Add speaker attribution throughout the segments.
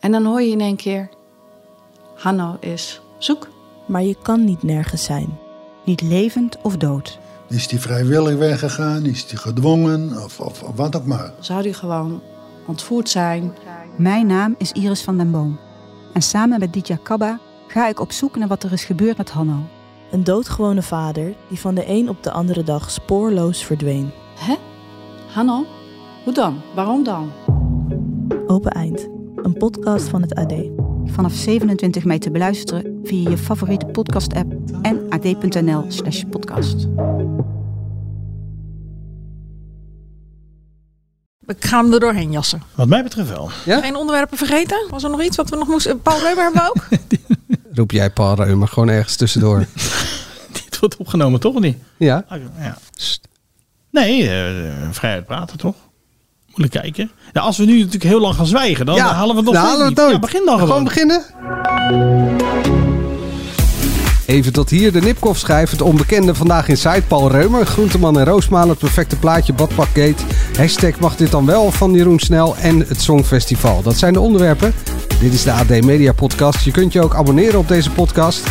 Speaker 1: En dan hoor je in één keer: Hanno is zoek.
Speaker 2: Maar je kan niet nergens zijn.
Speaker 3: Niet levend of dood.
Speaker 4: Is die vrijwillig weggegaan? Is die gedwongen? Of, of, of wat ook maar.
Speaker 1: Zou die gewoon ontvoerd zijn?
Speaker 3: Mijn naam is Iris van den Boom. En samen met Ditya Kabba ga ik op zoek naar wat er is gebeurd met Hanno.
Speaker 2: Een doodgewone vader die van de een op de andere dag spoorloos verdween.
Speaker 1: Hè? Hanno? Hoe dan? Waarom dan?
Speaker 2: Open Eind, een podcast van het AD.
Speaker 3: Vanaf 27 mei te beluisteren via je favoriete podcast-app en ad.nl/slash podcast.
Speaker 5: Ik ga hem er doorheen jassen.
Speaker 6: Wat mij betreft wel.
Speaker 5: Geen onderwerpen vergeten? Was er nog iets wat we nog moesten? Paul Reumer hebben we ook?
Speaker 7: Roep jij Paul Reumer gewoon ergens tussendoor.
Speaker 6: Dit wordt opgenomen, toch of niet?
Speaker 7: ja.
Speaker 6: Ah, Ja. Nee, eh, vrijheid praten, toch? Moeilijk kijken. Ja, als we nu natuurlijk heel lang gaan zwijgen, dan
Speaker 7: ja.
Speaker 6: halen we het
Speaker 7: dan
Speaker 6: nog
Speaker 7: halen we het
Speaker 6: Ja,
Speaker 7: nooit.
Speaker 6: begin dan
Speaker 7: Gewoon
Speaker 6: gewoon.
Speaker 7: beginnen. Even tot hier de Nipkoff schrijft. Het onbekende vandaag in Paul Reumer, Groenteman en Roosmalen. Het perfecte plaatje, Badpakgate. Hashtag mag dit dan wel van Jeroen Snel en het Songfestival. Dat zijn de onderwerpen. Dit is de AD Media Podcast. Je kunt je ook abonneren op deze podcast.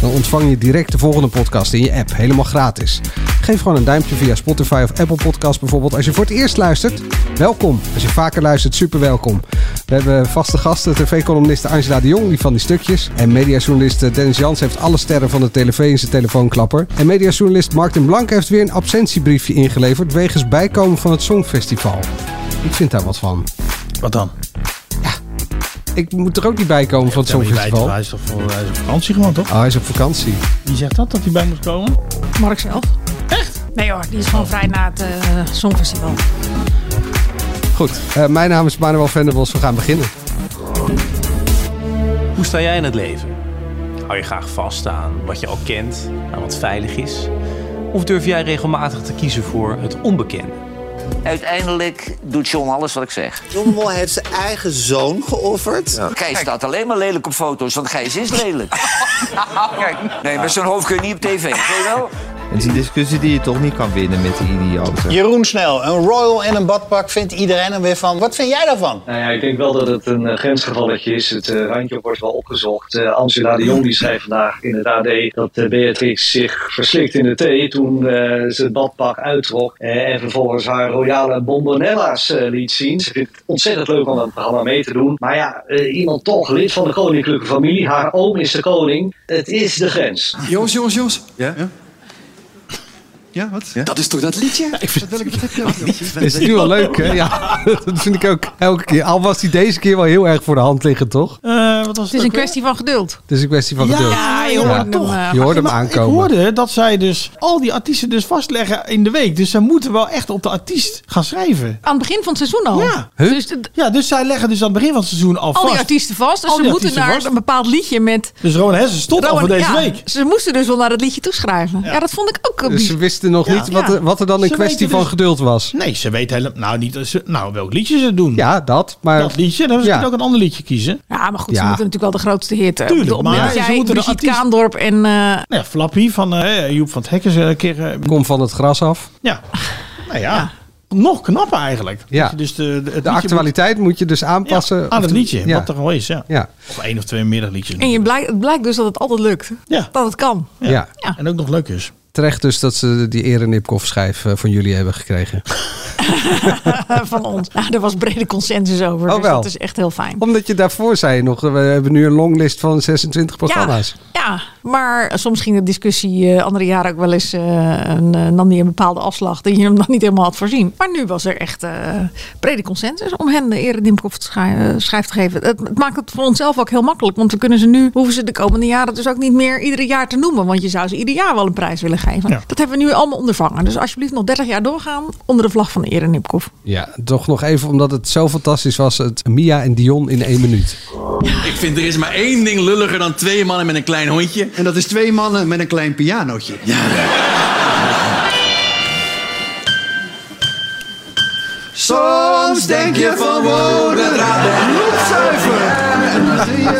Speaker 7: Dan ontvang je direct de volgende podcast in je app. Helemaal gratis. Geef gewoon een duimpje via Spotify of Apple Podcast bijvoorbeeld. Als je voor het eerst luistert, welkom. Als je vaker luistert, super welkom. We hebben vaste gasten, tv-columniste Angela de Jong, die van die stukjes. En mediajournalist eh, Dennis Jans heeft alle sterren van de tv in zijn telefoonklapper. En mediajournalist Mark den Blank heeft weer een absentiebriefje ingeleverd... wegens bijkomen van het Songfestival. Ik vind daar wat van.
Speaker 6: Wat dan?
Speaker 7: Ik moet er ook niet bij komen van het
Speaker 6: Ja, maar je weet,
Speaker 7: Songfestival.
Speaker 6: Hij is toch voor hij is op vakantie gewoon, toch?
Speaker 7: Oh, hij is op vakantie.
Speaker 6: Wie zegt dat, dat hij bij moet komen?
Speaker 5: Mark zelf. Echt? Nee hoor, die is gewoon vrij na het eh, Songfestival.
Speaker 7: Goed, eh, mijn naam is Manuel Venderbos. We gaan beginnen.
Speaker 8: Hoe sta jij in het leven? Hou je graag vast aan wat je al kent, aan wat veilig is? Of durf jij regelmatig te kiezen voor het onbekende?
Speaker 9: Uiteindelijk doet John alles wat ik zeg.
Speaker 10: John Mol heeft zijn eigen zoon geofferd.
Speaker 9: Gijs staat alleen maar lelijk op foto's, want Gijs is lelijk. Kijk, nee, met zo'n hoofd kun je niet op tv. Weet je wel?
Speaker 11: Het is een discussie die je toch niet kan winnen met die idioten.
Speaker 4: Jeroen Snel, een royal en een badpak vindt iedereen er weer van. Wat vind jij daarvan?
Speaker 8: Nou ja, ik denk wel dat het een eh, grensgevalletje is. Het eh, randje wordt wel opgezocht. Eh, Angela de Jong die schreef vandaag in het AD dat eh, Beatrix zich verslikt in de thee toen eh, ze het badpak uittrok. Eh, en vervolgens haar royale bombonella's eh, liet zien. Ze vindt het ontzettend leuk om aan het programma mee te doen. Maar ja, eh, iemand toch lid van de koninklijke familie. Haar oom is de koning. Het is de grens.
Speaker 11: Jos, Jos, Jos. Ja? Ja, wat? Dat is toch dat liedje? Ja, ik vind dat
Speaker 7: Is het nu al leuk, hè? Ja, dat vind ik ook elke keer. Al was die deze keer wel heel erg voor de hand liggen, toch?
Speaker 6: Eh, wat was
Speaker 5: Het is een kwestie van geduld.
Speaker 7: Het is een kwestie van geduld.
Speaker 6: Ja, je
Speaker 5: je
Speaker 6: hoort
Speaker 5: hoort
Speaker 6: hem toch.
Speaker 5: hem, eh,
Speaker 7: Je hoort hem
Speaker 6: Maar
Speaker 7: aankomen.
Speaker 6: Ik hoorde dat zij dus al die artiesten dus vastleggen in de week. Dus zij moeten wel echt op de artiest gaan schrijven.
Speaker 5: Aan het begin van het seizoen al.
Speaker 6: Ja.
Speaker 7: Huh?
Speaker 5: Dus het-
Speaker 6: Ja, dus zij leggen dus aan het begin van het seizoen al
Speaker 5: al
Speaker 6: vast.
Speaker 5: die artiesten vast. Dus
Speaker 6: Al
Speaker 5: ze
Speaker 6: die
Speaker 5: moeten
Speaker 6: artiesten
Speaker 5: naar
Speaker 6: vast.
Speaker 5: een bepaald liedje met...
Speaker 6: Dus Rowan Hessen stopt al voor
Speaker 5: Rowan-
Speaker 6: deze
Speaker 5: ja,
Speaker 6: week.
Speaker 5: Ze moesten dus wel naar het liedje toeschrijven. Ja, dat vond ik ook een
Speaker 7: Dus ze wisten nog
Speaker 6: Ja.
Speaker 7: niet wat er, wat er dan
Speaker 6: Ze
Speaker 7: een kwestie
Speaker 6: weten
Speaker 7: van
Speaker 6: dus-
Speaker 7: geduld was.
Speaker 6: Nee, ze weet helemaal nou, niet dat ze- nou, welk liedje ze doen.
Speaker 7: Ja, dat. Maar
Speaker 6: Dat liedje, dan ze
Speaker 7: Ja.
Speaker 6: kunnen ook een ander liedje kiezen.
Speaker 5: Ja, maar goed,
Speaker 7: Ja.
Speaker 5: ze moeten natuurlijk wel de grootste hit hebben.
Speaker 6: Tuurlijk, maar
Speaker 5: omdat
Speaker 6: ze
Speaker 5: jij
Speaker 6: moeten de
Speaker 5: Brigitte
Speaker 6: artiest-
Speaker 5: Kaandorp en... eh,
Speaker 6: Nou ja, Flappy van eh, Joep van het Hek is een keer... eh,
Speaker 7: kom van het gras af.
Speaker 6: ja, nou ja. Nog knapper eigenlijk.
Speaker 7: Ja.
Speaker 6: Dat je Dus de, de, het
Speaker 7: De
Speaker 6: liedje
Speaker 7: actualiteit moet je dus
Speaker 6: moet- ja,
Speaker 7: aanpassen.
Speaker 6: aan het
Speaker 7: Of-
Speaker 6: liedje,
Speaker 7: Ja.
Speaker 6: wat er al is. Ja.
Speaker 7: Ja.
Speaker 6: Of één of twee middagliedjes.
Speaker 5: en je blijkt, het blijkt dus dat het altijd lukt.
Speaker 6: Ja.
Speaker 5: Dat het kan.
Speaker 7: Ja.
Speaker 5: Ja.
Speaker 6: En ook nog leuk is.
Speaker 7: Terecht dus dat ze die Erenipkoff schijf eh, van jullie hebben gekregen.
Speaker 5: van ons. Nou, daar was brede consensus over.
Speaker 7: Oh,
Speaker 5: dus
Speaker 7: wel.
Speaker 5: dat is echt heel fijn.
Speaker 7: Omdat je daarvoor zei nog, eh, we hebben nu een longlist van 26
Speaker 5: Ja,
Speaker 7: programma's.
Speaker 5: ja, maar soms ging de discussie eh, andere jaren ook wel eens, eh, een, eh, nam die een bepaalde afslag die je hem nog niet helemaal had voorzien. Maar nu was er echt eh, brede consensus om hen de Eredimprof schrijf te geven. Het, het maakt het voor onszelf ook heel makkelijk, want we kunnen ze nu, hoeven ze de komende jaren dus ook niet meer iedere jaar te noemen, want je zou ze ieder jaar wel een prijs willen geven.
Speaker 6: Ja.
Speaker 5: Dat hebben we nu allemaal ondervangen. Dus alsjeblieft nog 30 jaar doorgaan onder de vlag van de Eredimprof.
Speaker 7: Ja, toch nog even, omdat het zo fantastisch was. Het Mia en Dion in één minuut.
Speaker 11: Ik vind er is maar één ding lulliger dan twee mannen met een klein hondje.
Speaker 10: En dat is twee mannen met een klein pianootje.
Speaker 11: Soms denk je van woorden raden.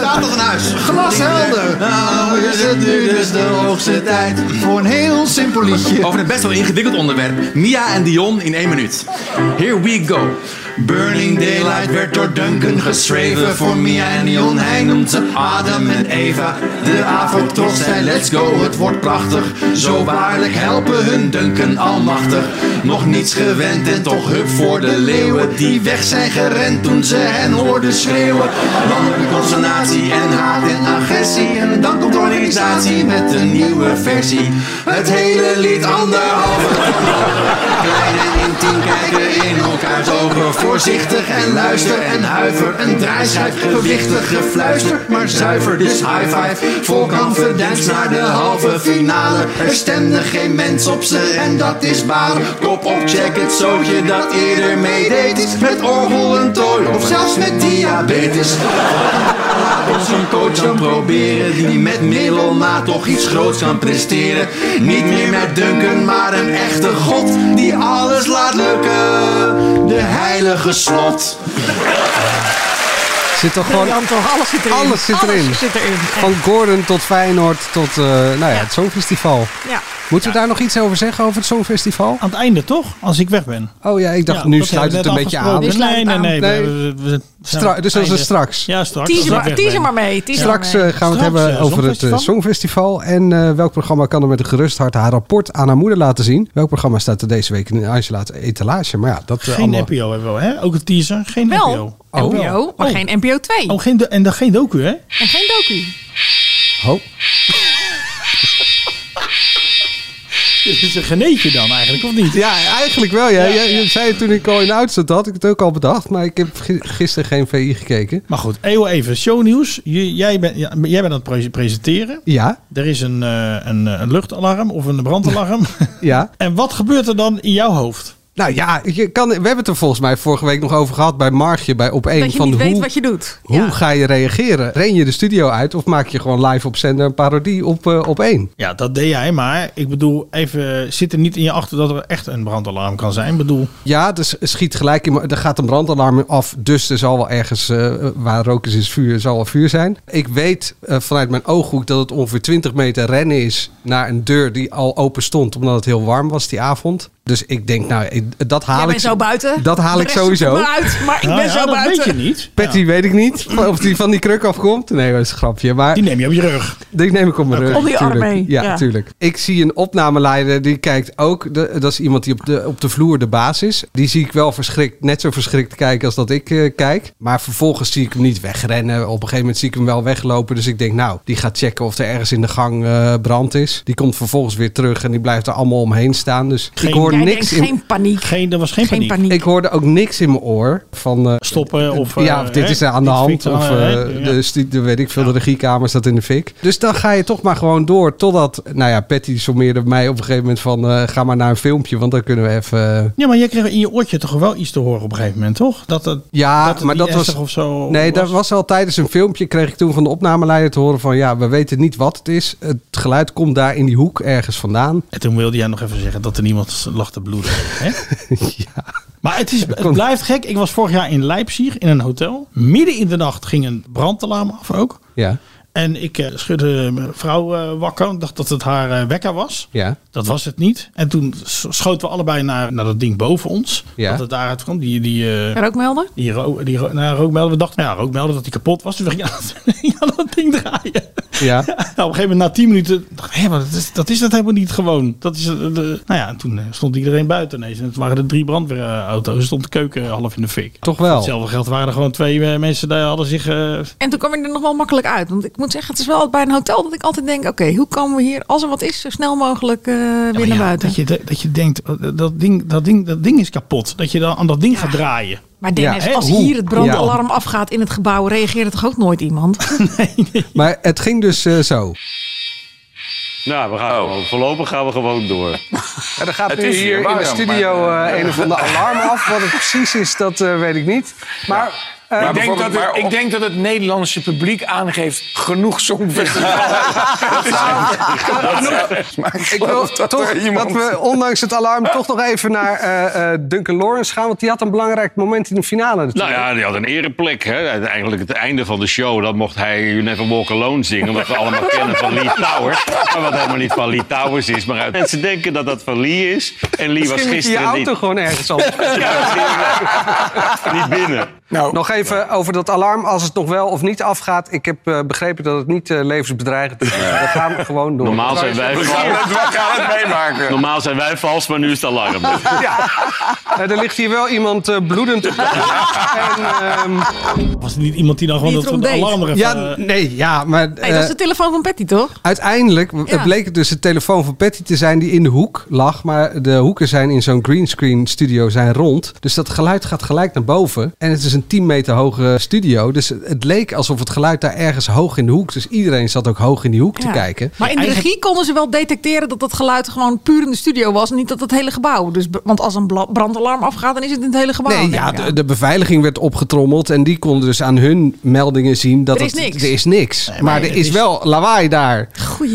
Speaker 10: Gaat nog naar huis. Glashelder. Nou is het nu dus de hoogste tijd voor een heel simpel liedje.
Speaker 11: Over een best wel ingewikkeld onderwerp. Mia en Dion in één minuut. Here we go.
Speaker 10: Burning Daylight werd door Duncan geschreven Voor Mia en Dion, hij noemt ze Adam en Eva De avond trots zei let's go, het wordt prachtig Zo waarlijk helpen hun Duncan almachtig Nog niets gewend en toch hup voor de leeuwen Die weg zijn gerend toen ze hen hoorden schreeuwen Landelijke consternatie en haat en agressie En dan komt de organisatie met een nieuwe versie Het hele lied anderhalve Klein en intiem kijken in elkaars ogen. Voorzichtig en luister en huiver. Een draaischijf, gewichtig gefluister, maar zuiver. Dus high five, vol confidence naar de halve finale. Er stemde geen mens op ze en dat is balen. Kop op, check het zootje dat eerder meedeed is. Met orgel en tooi of zelfs met diabetes. Laat ons een coach dan proberen die met middelmaat toch iets groots kan presteren. Niet meer met Duncan, maar een echte god die alles laat lukken. De heilige slot.
Speaker 7: Zit toch gewoon...
Speaker 5: Briljant toch? Alles zit erin.
Speaker 7: Alles zit
Speaker 5: Alles
Speaker 7: erin.
Speaker 5: zit erin.
Speaker 7: Van Gordon tot Feyenoord tot eh, nou ja, het Songfestival.
Speaker 5: Ja.
Speaker 7: Moeten we daar nog iets over zeggen, over het Songfestival?
Speaker 6: Aan het einde toch? Als ik weg ben.
Speaker 7: Oh ja, ik dacht, nu sluit het een beetje aan.
Speaker 6: Nee, nee, nee. nee,
Speaker 7: Nee.
Speaker 6: we- we- we- we zijn
Speaker 7: Stra-
Speaker 6: aan
Speaker 7: dus dat is
Speaker 6: einde.
Speaker 7: straks.
Speaker 6: Ja, straks.
Speaker 5: Teaser
Speaker 6: als ik
Speaker 5: maar-
Speaker 6: weg ben.
Speaker 5: teaser maar mee, teaser Ja. maar
Speaker 7: Straks eh, gaan we het
Speaker 6: Straks,
Speaker 7: hebben
Speaker 6: eh,
Speaker 7: over het
Speaker 6: Songfestival.
Speaker 7: eh, Songfestival. En eh, welk programma kan er met een gerust hart haar rapport aan haar moeder laten zien? Welk programma staat er deze week in Angela's etalage? Maar ja, dat eh,
Speaker 6: Geen
Speaker 7: allemaal...
Speaker 6: NPO hebben we, hè? Ook een teaser. Geen NPO.
Speaker 5: Wel,
Speaker 7: Oh.
Speaker 5: NPO, maar
Speaker 6: Oh.
Speaker 5: geen NPO 2.
Speaker 6: Oh, geen, do- en dan geen docu, hè?
Speaker 5: En geen docu.
Speaker 7: Oh.
Speaker 6: Dit Dus is een geneetje dan eigenlijk, of niet?
Speaker 7: Ja, eigenlijk wel. Ja. Jij- Je zei het toen ik al in de uitzet had. Ik het ook al bedacht. Maar ik heb gi- gisteren geen VI gekeken.
Speaker 6: Maar goed, heel even shownieuws. J- Jij, bent- ja, jij bent aan het pre- presenteren.
Speaker 7: Ja,
Speaker 6: Er is een, eh, een, eh, een luchtalarm of een brandalarm.
Speaker 7: ja.
Speaker 6: en wat gebeurt er dan in jouw hoofd?
Speaker 7: Nou ja, je kan, we hebben het er volgens mij vorige week nog over gehad bij Margje bij Op1.
Speaker 5: Dat je
Speaker 7: van
Speaker 5: niet
Speaker 7: hoe,
Speaker 5: weet wat je doet.
Speaker 7: hoe
Speaker 5: Ja.
Speaker 7: ga je reageren? Ren je de studio uit of maak je gewoon live op zender een parodie op, eh, op 1?
Speaker 6: Ja, dat deed jij, maar ik bedoel, even, zit er niet in je achter dat er echt een brandalarm kan zijn? Ik bedoel,
Speaker 7: Ja, dus schiet gelijk in. maar Er gaat een brandalarm af. Dus er zal wel ergens eh, waar rook is, is vuur. zal wel vuur zijn. Ik weet eh, vanuit mijn ooghoek dat het ongeveer 20 meter rennen is naar een deur die al open stond. Omdat het heel warm was die avond. Dus ik denk, nou, ik- dat haal
Speaker 5: Jij
Speaker 7: ik.
Speaker 5: bent zo buiten.
Speaker 7: Dat haal
Speaker 5: De
Speaker 7: ik
Speaker 5: rest
Speaker 7: sowieso.
Speaker 5: zoekt er maar uit, maar ik
Speaker 6: nou
Speaker 5: ben
Speaker 6: ja,
Speaker 5: zo
Speaker 6: dat
Speaker 5: buiten.
Speaker 6: weet je niet.
Speaker 7: Patty weet ik niet of die van die kruk afkomt. Nee, dat is een grapje. Maar
Speaker 6: Die neem je op je rug.
Speaker 7: Die neem ik op mijn rug.
Speaker 5: Om die arm
Speaker 7: tuurlijk.
Speaker 5: mee,
Speaker 7: Ja,
Speaker 5: ja.
Speaker 7: natuurlijk. Ik zie een opnameleider die kijkt ook. De- dat is iemand die op de, op de vloer de baas is. Die zie ik wel verschrikt, net zo verschrikt kijken als dat ik eh, kijk. Maar vervolgens zie ik hem niet wegrennen. Op een gegeven moment zie ik hem wel weglopen. Dus ik denk, nou, die gaat checken of er ergens in de gang eh, brand is. Die komt vervolgens weer terug en die blijft er allemaal omheen staan. Dus
Speaker 6: Geen-
Speaker 7: ik hoor
Speaker 5: Jij
Speaker 7: niks
Speaker 5: denkt
Speaker 7: in.
Speaker 5: geen paniek.
Speaker 6: Geen, er was geen,
Speaker 5: Geen
Speaker 6: paniek.
Speaker 5: paniek.
Speaker 7: Ik hoorde ook niks in mijn oor van eh,
Speaker 6: Stoppen of...
Speaker 7: ja, of
Speaker 6: eh,
Speaker 7: dit
Speaker 6: hè,
Speaker 7: is aan de
Speaker 6: dit
Speaker 7: hand.
Speaker 6: fikt aan,
Speaker 7: Of
Speaker 6: hè, ja.
Speaker 7: eh, de, stu- de, weet ik veel, de regiekamer staat in de fik. Dus dan ga je toch maar gewoon door. Totdat, nou ja, Patty sommeerde mij op een gegeven moment van... eh, ga maar naar een filmpje, want dan kunnen we even... eh,
Speaker 6: Ja, maar jij kreeg in je oortje toch wel iets te horen op een gegeven moment, toch? Dat het,
Speaker 7: ja,
Speaker 6: dat het
Speaker 7: maar
Speaker 6: niet
Speaker 7: dat was...
Speaker 6: ernstig of zo
Speaker 7: Nee,
Speaker 6: was.
Speaker 7: dat was al tijdens een filmpje. Kreeg ik toen van de opnameleider te horen van... ja, we weten niet wat het is. Het geluid komt daar in die hoek ergens vandaan.
Speaker 6: En toen wilde jij nog even zeggen dat er niemand lag te bloeden. Hè?
Speaker 7: ja.
Speaker 6: Maar het, is, het
Speaker 7: Kon-
Speaker 6: blijft gek. Ik was vorig jaar in Leipzig in een hotel. Midden in de nacht ging een brandalarm af ook.
Speaker 7: Ja,
Speaker 6: En ik eh, schudde mijn vrouw eh, wakker. Ik dacht dat het haar eh, wekker was.
Speaker 7: ja.
Speaker 6: Dat was het niet. En toen s- schoten we allebei naar, naar dat ding boven ons.
Speaker 7: Ja.
Speaker 6: Dat het daaruit kwam. Die, die, eh
Speaker 5: Rookmelder?
Speaker 6: die, ro die ro nou, rookmelder. We dachten, nou ja, rookmelder dat die kapot was. Dus we gingen aan- aan dat ding draaien.
Speaker 7: Ja.
Speaker 6: Nou, op een gegeven moment na 10 minuten dacht ik, hé, maar dat is, dat is dat helemaal niet gewoon. Dat is, eh, de- nou ja, en toen eh, stond iedereen buiten ineens. En het waren er drie brandweerauto's. Er stond de keuken half in de fik.
Speaker 7: Toch wel.
Speaker 6: Hetzelfde geld waren er gewoon twee eh, mensen die hadden zich... eh,
Speaker 5: En toen kwam ik er nog wel makkelijk uit. Want ik moet zeggen, het is wel bij een hotel dat ik altijd denk... oké, hoe komen we hier, als er wat is, zo snel mogelijk eh, weer
Speaker 6: Ja,
Speaker 5: naar
Speaker 6: maar ja,
Speaker 5: buiten.
Speaker 6: Dat je, de- dat je denkt, eh, dat ding, dat, ding, dat ding is kapot. Dat je dan aan dat ding gaat draaien.
Speaker 5: Maar Dennis,
Speaker 6: Ja, hè,
Speaker 5: als
Speaker 6: hoe?
Speaker 5: hier het brandalarm afgaat in het gebouw... reageert er toch ook nooit iemand?
Speaker 7: Maar het ging dus eh, zo.
Speaker 12: Nou, we gaan
Speaker 9: Oh.
Speaker 12: gewoon, voorlopig gaan we gewoon door.
Speaker 7: En er gaat
Speaker 12: Het
Speaker 7: nu
Speaker 12: is
Speaker 7: hier
Speaker 12: hier
Speaker 7: in
Speaker 12: warm,
Speaker 7: de studio
Speaker 12: maar-
Speaker 7: eh, een of ander alarm af. Wat het precies is, dat eh, weet ik eh, niet. Maar
Speaker 13: ik, denk dat
Speaker 14: bijvoorbeeld-
Speaker 13: het,
Speaker 14: maar
Speaker 13: ik
Speaker 14: op-
Speaker 13: denk dat het Nederlandse publiek aangeeft genoeg songfestivals.
Speaker 14: Maar
Speaker 7: Ik wil
Speaker 14: dat
Speaker 7: toch
Speaker 14: er iemand-
Speaker 7: dat we ondanks het alarm toch nog even naar eh, eh, Duncan Lawrence gaan. Want die had een belangrijk moment in de finale. natuurlijk.
Speaker 12: Nou ja, die had een ereplek. Hè. Eigenlijk het einde van de show, dat mocht hij You Never Walk Alone zingen. Wat we allemaal kennen van Lee Towers. Maar wat helemaal niet van Lee Towers is. Maar uit- mensen denken dat dat van Lee is. En Lee was
Speaker 7: Misschien moet je je
Speaker 12: gisteren
Speaker 7: auto
Speaker 12: niet,
Speaker 7: gewoon ergens anders.
Speaker 12: niet binnen.
Speaker 7: nog even over dat alarm, als het nog wel of niet afgaat. Ik heb eh, begrepen dat het niet eh, levensbedreigend is. We gaan gewoon door.
Speaker 12: Normaal zijn wij vals. Normaal zijn wij vals, maar nu is het alarm.
Speaker 7: Ja. Eh, er ligt hier wel iemand eh, bloedend op de grond. En, ehm,
Speaker 6: Was het niet iemand die dan gewoon
Speaker 5: Die
Speaker 6: dat
Speaker 5: het
Speaker 6: van de
Speaker 5: erom
Speaker 6: alarm
Speaker 5: deed.
Speaker 6: er even... eh,
Speaker 7: Ja, nee, ja, maar...
Speaker 5: Nee, dat is
Speaker 7: eh,
Speaker 5: de telefoon van Patty, toch?
Speaker 7: Uiteindelijk eh, bleek het dus de telefoon van Patty te zijn die in de hoek lag. Maar de hoeken zijn in zo'n greenscreen studio zijn rond. Dus dat geluid gaat gelijk naar boven. En het is een 10 meter hoge studio. Dus het- het leek alsof het geluid daar ergens hoog in de hoek. Dus iedereen zat ook hoog in die hoek
Speaker 5: Ja.
Speaker 7: te kijken.
Speaker 5: Maar in de regie konden ze wel detecteren dat dat geluid gewoon puur in de studio was. en Niet dat het hele gebouw. Dus, be- want als een bla- brandalarm afgaat, dan is het in het hele gebouw.
Speaker 7: Nee,
Speaker 5: denk
Speaker 7: ja,
Speaker 5: ik.
Speaker 7: de, de beveiliging werd opgetrommeld. En die konden dus aan hun meldingen zien dat
Speaker 5: Er is
Speaker 7: het-
Speaker 5: niks.
Speaker 7: er is niks. maar
Speaker 6: nee,
Speaker 7: er
Speaker 6: er
Speaker 7: is
Speaker 6: is-
Speaker 7: wel lawaai daar.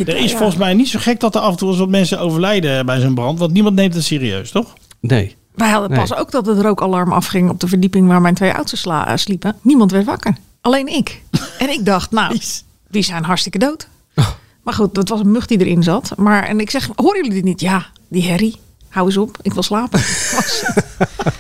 Speaker 6: er is volgens mij niet zo gek dat er af en toe eens wat mensen overlijden bij zo'n brand. Want niemand neemt het serieus, toch?
Speaker 7: Nee.
Speaker 5: Wij hadden
Speaker 6: Nee.
Speaker 5: pas ook dat het rookalarm afging op de verdieping waar mijn twee oudsten sla- eh, sliepen. Niemand werd wakker. Alleen ik. En ik dacht, nou, die zijn hartstikke dood.
Speaker 6: Oh.
Speaker 5: Maar goed, dat was een mug die erin zat. Maar, en ik zeg, horen jullie dit niet? Ja, die herrie. Hou eens op, ik wil slapen. Het was,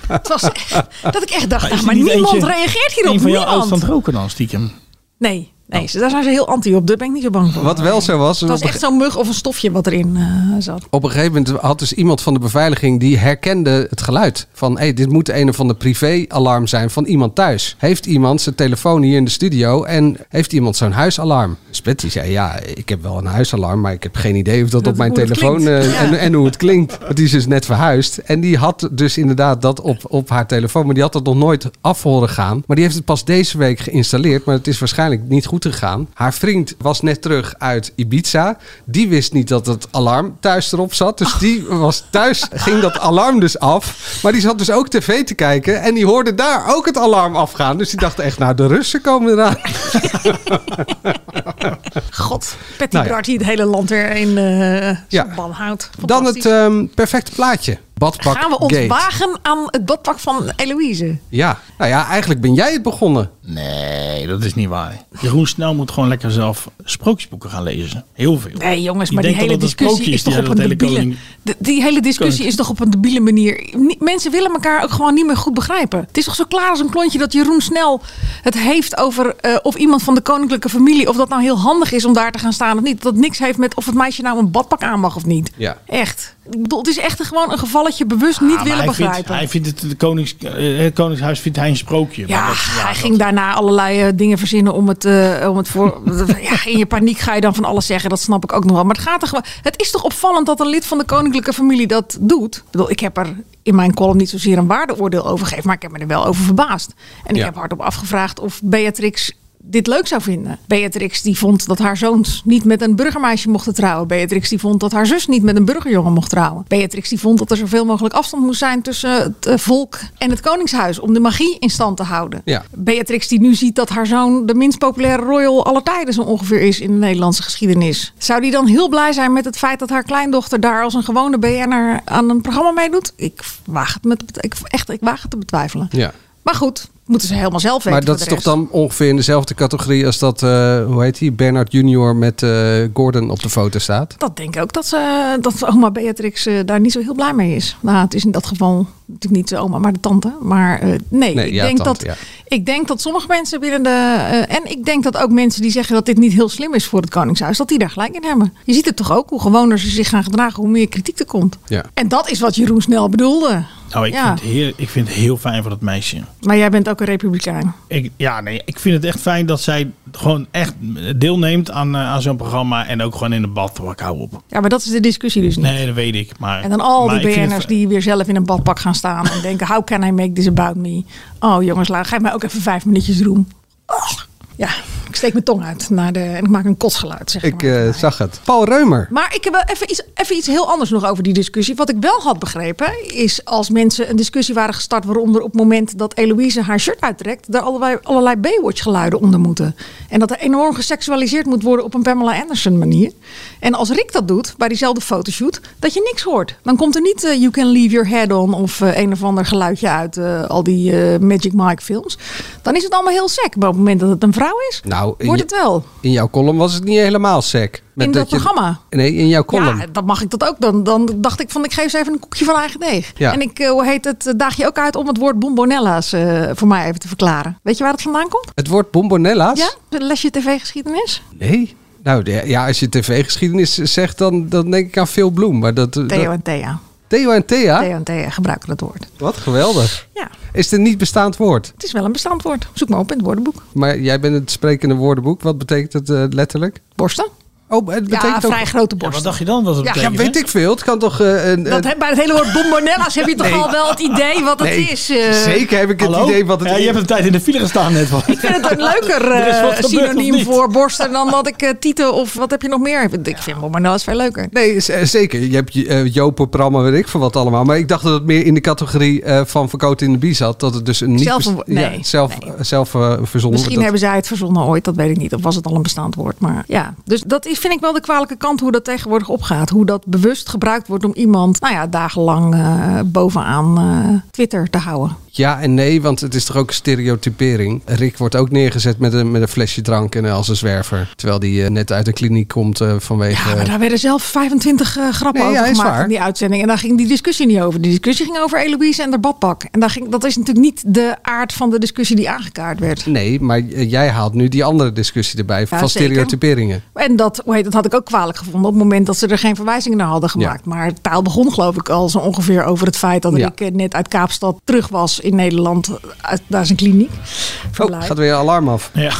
Speaker 5: het was echt, dat ik echt dacht, nou,
Speaker 6: is er
Speaker 5: maar
Speaker 6: niet
Speaker 5: niemand
Speaker 6: eentje-
Speaker 5: reageert hierop.
Speaker 6: Een van Oh. jou ouders aan
Speaker 5: niemand.
Speaker 6: het roken dan, stiekem.
Speaker 5: Nee, nee ze- daar zijn ze heel anti op. Daar ben ik niet zo bang voor.
Speaker 7: Wat wel zo was...
Speaker 5: Het was echt zo'n mug of een stofje wat erin eh, zat.
Speaker 7: Op een gegeven moment had dus iemand van de beveiliging die herkende het geluid. Van hey, dit moet een of ander privé-alarm zijn van iemand thuis. Heeft iemand zijn telefoon hier in de studio en heeft iemand zo'n huisalarm? Split die zei ja, ik heb wel een huisalarm, maar ik heb geen idee of dat, op mijn
Speaker 14: hoe het
Speaker 7: telefoon
Speaker 14: klinkt.
Speaker 7: eh, en, en hoe het klinkt. Want die is dus net verhuisd. En die had dus inderdaad dat op, op haar telefoon, maar die had dat nog nooit af horen gaan. Maar die heeft het pas deze week geïnstalleerd, maar het is waarschijnlijk niet goed gegaan. Haar vriend was net terug uit Ibiza. Die wist niet dat het alarm thuis erop zat. Dus die was thuis, ging dat alarm dus af. Maar die zat dus ook tv te kijken en die hoorde daar ook het alarm afgaan. Dus die dacht echt, nou de Russen komen eraan.
Speaker 5: God, Patty
Speaker 7: Nou ja.
Speaker 5: Bart die het hele land weer in eh
Speaker 7: Ja.
Speaker 5: zijn ban houdt.
Speaker 7: Dan het eh, ehm, perfecte plaatje. Badpak
Speaker 5: Gaan we ons
Speaker 7: Gate.
Speaker 5: wagen aan het badpak van Eloïse?
Speaker 7: Ja, nou ja, eigenlijk ben jij het begonnen.
Speaker 6: Nee, dat is niet waar. Jeroen Snel moet gewoon lekker zelf sprookjesboeken gaan lezen. Heel veel.
Speaker 5: Nee jongens,
Speaker 6: Die
Speaker 5: maar die
Speaker 6: denkt
Speaker 5: hele
Speaker 6: dat het een
Speaker 5: discussie
Speaker 6: sprookje
Speaker 5: is
Speaker 6: is, die
Speaker 5: toch op
Speaker 6: hele
Speaker 5: een
Speaker 6: hele
Speaker 5: debiele...
Speaker 6: koning-
Speaker 5: De- Die hele discussie
Speaker 6: Koning.
Speaker 5: is toch op een debiele manier... Ni- Mensen willen elkaar ook gewoon niet meer goed begrijpen. Het is toch zo klaar als een klontje dat Jeroen Snel het heeft over... eh, of iemand van de koninklijke familie, of dat nou heel handig is om daar te gaan staan of niet. Dat het niks heeft met of het meisje nou een badpak aan mag of niet.
Speaker 7: Ja.
Speaker 5: Echt. Ik bedoel, het is echt gewoon een gevalletje bewust niet
Speaker 6: Ah, maar
Speaker 5: willen
Speaker 6: hij
Speaker 5: begrijpen.
Speaker 6: Vindt, hij vindt het, de konings, eh, het Koningshuis vindt hij een sprookje.
Speaker 5: Ja,
Speaker 6: Maar dat-
Speaker 5: hij ging daarna allerlei eh, dingen verzinnen om het, eh, om het voor. ja, in je paniek ga je dan van alles zeggen, dat snap ik ook nog wel. Maar het gaat er gewoon. Het is toch opvallend dat een lid van de koninklijke familie dat doet? Ik bedoel, ik heb er in mijn column niet zozeer een waardeoordeel over gegeven, maar ik heb me er wel over verbaasd. En
Speaker 15: Ja.
Speaker 5: ik heb hardop afgevraagd of Beatrix dit leuk zou vinden. Beatrix die vond dat haar zoons niet met een burgermeisje mochten trouwen. Beatrix die vond dat haar zus niet met een burgerjongen mocht trouwen. Beatrix die vond dat er zoveel mogelijk afstand moest zijn tussen het eh, volk en het koningshuis om de magie in stand te houden.
Speaker 7: Ja.
Speaker 5: Beatrix die nu ziet dat haar zoon de minst populaire royal aller tijden zo ongeveer is in de Nederlandse geschiedenis. Zou die dan heel blij zijn met het feit dat haar kleindochter daar als een gewone BN'er aan een programma meedoet? Ik waag het, met, ik, echt, ik waag het te betwijfelen.
Speaker 7: Ja.
Speaker 5: Maar goed, moeten ze helemaal zelf weten.
Speaker 7: Maar dat is
Speaker 5: voor
Speaker 7: toch
Speaker 5: de rest.
Speaker 7: dan ongeveer in dezelfde categorie als dat, eh, hoe heet hij, Bernard Junior met eh, Gordon op de foto staat?
Speaker 5: Dat denk ik ook dat, ze, dat oma Beatrix eh, daar niet zo heel blij mee is. Nou, het is in dat geval natuurlijk niet de oma, maar de tante. Maar eh, nee,
Speaker 7: Nee,
Speaker 5: ik,
Speaker 7: ja,
Speaker 5: denk
Speaker 7: tante,
Speaker 5: dat,
Speaker 7: ja.
Speaker 5: ik denk dat sommige mensen binnen de. eh, en ik denk dat ook mensen die zeggen dat dit niet heel slim is voor het Koningshuis, dat die daar gelijk in hebben. Je ziet het toch ook, hoe gewoner ze zich gaan gedragen, hoe meer kritiek er komt.
Speaker 7: Ja.
Speaker 5: En dat is wat Jeroen snel bedoelde.
Speaker 6: Nou, ik,
Speaker 5: Ja.
Speaker 6: vind het heel, ik vind het heel fijn voor dat meisje.
Speaker 5: Maar jij bent ook een republikein.
Speaker 6: Ik, ja, nee, ik vind het echt fijn dat zij gewoon echt deelneemt aan, eh, aan zo'n programma. En ook gewoon in de bad. Ik hou op.
Speaker 5: Ja, maar dat is de discussie dus niet.
Speaker 6: Nee, dat weet ik. Maar,
Speaker 5: En dan al die
Speaker 6: maar ik vind het
Speaker 5: BN'ers die weer zelf in een badpak gaan staan en denken: How can I make this about me? Oh jongens, laat, geef mij ook even vijf minuutjes roem. Oh, ja, Ik steek mijn tong uit naar de, en ik maak een kotsgeluid. Zeg.
Speaker 7: Ik eh, zag het. Paul Reumer.
Speaker 5: Maar ik heb wel even iets, even iets heel anders nog over die discussie. Wat ik wel had begrepen is als mensen een discussie waren gestart... waarom er op het moment dat Eloïse haar shirt uittrekt... er allerlei, allerlei Baywatch geluiden onder moeten. En dat er enorm geseksualiseerd moet worden op een Pamela Anderson manier. En als Rick dat doet, bij diezelfde fotoshoot, dat je niks hoort. Dan komt er niet eh, You Can Leave Your Head On... of eh, een of ander geluidje uit eh, al die eh, Magic Mike films. Dan is het allemaal heel sec. Maar op het moment dat het een vrouw is,
Speaker 7: Nou, in,
Speaker 5: wordt
Speaker 7: je-
Speaker 5: het wel.
Speaker 7: in jouw column was het niet helemaal sec. Met
Speaker 5: In dat
Speaker 7: je-
Speaker 5: programma?
Speaker 7: Nee, in jouw column.
Speaker 5: Ja, dan mag ik dat ook. Dan, dan dacht ik van, ik geef ze even een koekje van eigen deeg.
Speaker 7: Ja.
Speaker 5: En ik, eh, hoe heet het, eh, daag je ook uit om het woord bombonella's eh, voor mij even te verklaren. Weet je waar het vandaan komt?
Speaker 7: Het woord bombonella's?
Speaker 5: Ja? Een lesje tv-geschiedenis?
Speaker 7: Nee. Nou de- ja, als je tv-geschiedenis zegt, dan, dan denk ik aan Phil Bloem. Maar dat,
Speaker 5: Theo
Speaker 7: dat-
Speaker 5: en Thea.
Speaker 7: Theo en Thea?
Speaker 5: Theo en Thea gebruiken dat woord.
Speaker 7: Wat geweldig.
Speaker 5: Ja.
Speaker 7: Is het een niet bestaand woord?
Speaker 5: Het is wel een bestaand woord. Zoek maar op in het woordenboek.
Speaker 7: Maar jij bent het sprekende woordenboek. Wat betekent het eh, letterlijk?
Speaker 5: Borsten?
Speaker 7: Oh, het
Speaker 5: ja,
Speaker 7: betekent ook-
Speaker 5: vrij grote borsten.
Speaker 6: wat dacht je dan? Wat het
Speaker 5: Ja.
Speaker 7: Ja,
Speaker 6: betekent?
Speaker 7: weet ik veel. Het kan toch... eh, een,
Speaker 5: Dat,
Speaker 7: een-
Speaker 5: heb- bij het hele woord bombonella's heb je toch
Speaker 7: Nee.
Speaker 5: al wel het idee wat het
Speaker 7: Nee,
Speaker 5: is. eh.
Speaker 7: Zeker heb ik het
Speaker 6: Hallo?
Speaker 7: idee wat het
Speaker 6: ja, je hebt een tijd in de file gestaan net. Wat.
Speaker 5: Ik vind het een leuker
Speaker 6: Er is
Speaker 5: eh,
Speaker 6: wat gebeurd, of
Speaker 5: synoniem
Speaker 6: niet?
Speaker 5: voor borsten dan dat ik eh, tieten of wat heb je nog meer? Ik vind bombonella's veel leuker.
Speaker 7: Nee, z- eh, zeker. Je hebt eh Jopen, Prammen, weet ik veel wat allemaal. Maar ik dacht dat het meer in de categorie eh, van verkoot in de bie zat. Dat het dus een niet...
Speaker 5: Zelf een
Speaker 7: best-
Speaker 5: wo-
Speaker 7: ja,
Speaker 5: nee,
Speaker 7: zelf, zelf eh, verzonnen.
Speaker 5: Misschien
Speaker 7: dat-
Speaker 5: hebben zij het verzonnen ooit, dat weet ik niet. Of was het al een bestaand woord. Maar ja, dus dat is, vind ik wel de kwalijke kant hoe dat tegenwoordig opgaat. Hoe dat bewust gebruikt wordt om iemand, nou ja, dagenlang eh, bovenaan eh, Twitter te houden.
Speaker 7: Ja en nee, want het is toch ook een stereotypering. Rick wordt ook neergezet met een, met een flesje drank en eh, als een zwerver. Terwijl die eh, net uit de kliniek komt eh, vanwege...
Speaker 5: Maar daar werden zelf 25 eh, grappen
Speaker 7: Nee, ja,
Speaker 5: over
Speaker 7: is
Speaker 5: gemaakt
Speaker 7: waar.
Speaker 5: in die uitzending. En daar ging die discussie niet over. Die discussie ging over Eloïse en haar badpak. En daar ging, dat is natuurlijk niet de aard van de discussie die aangekaart werd.
Speaker 7: Nee, maar eh, jij haalt nu die andere discussie erbij van
Speaker 5: zeker.
Speaker 7: stereotyperingen.
Speaker 5: En dat, hoe heet, dat had ik ook kwalijk gevonden op het moment dat ze er geen verwijzingen naar hadden gemaakt. Maar taal begon geloof ik al zo ongeveer over het feit dat
Speaker 7: Ja.
Speaker 5: ik eh, net uit Kaapstad terug was in Nederland. Uit, daar is een kliniek.
Speaker 7: Oh,
Speaker 5: Verblijf.
Speaker 7: gaat weer een alarm af.
Speaker 6: Ja.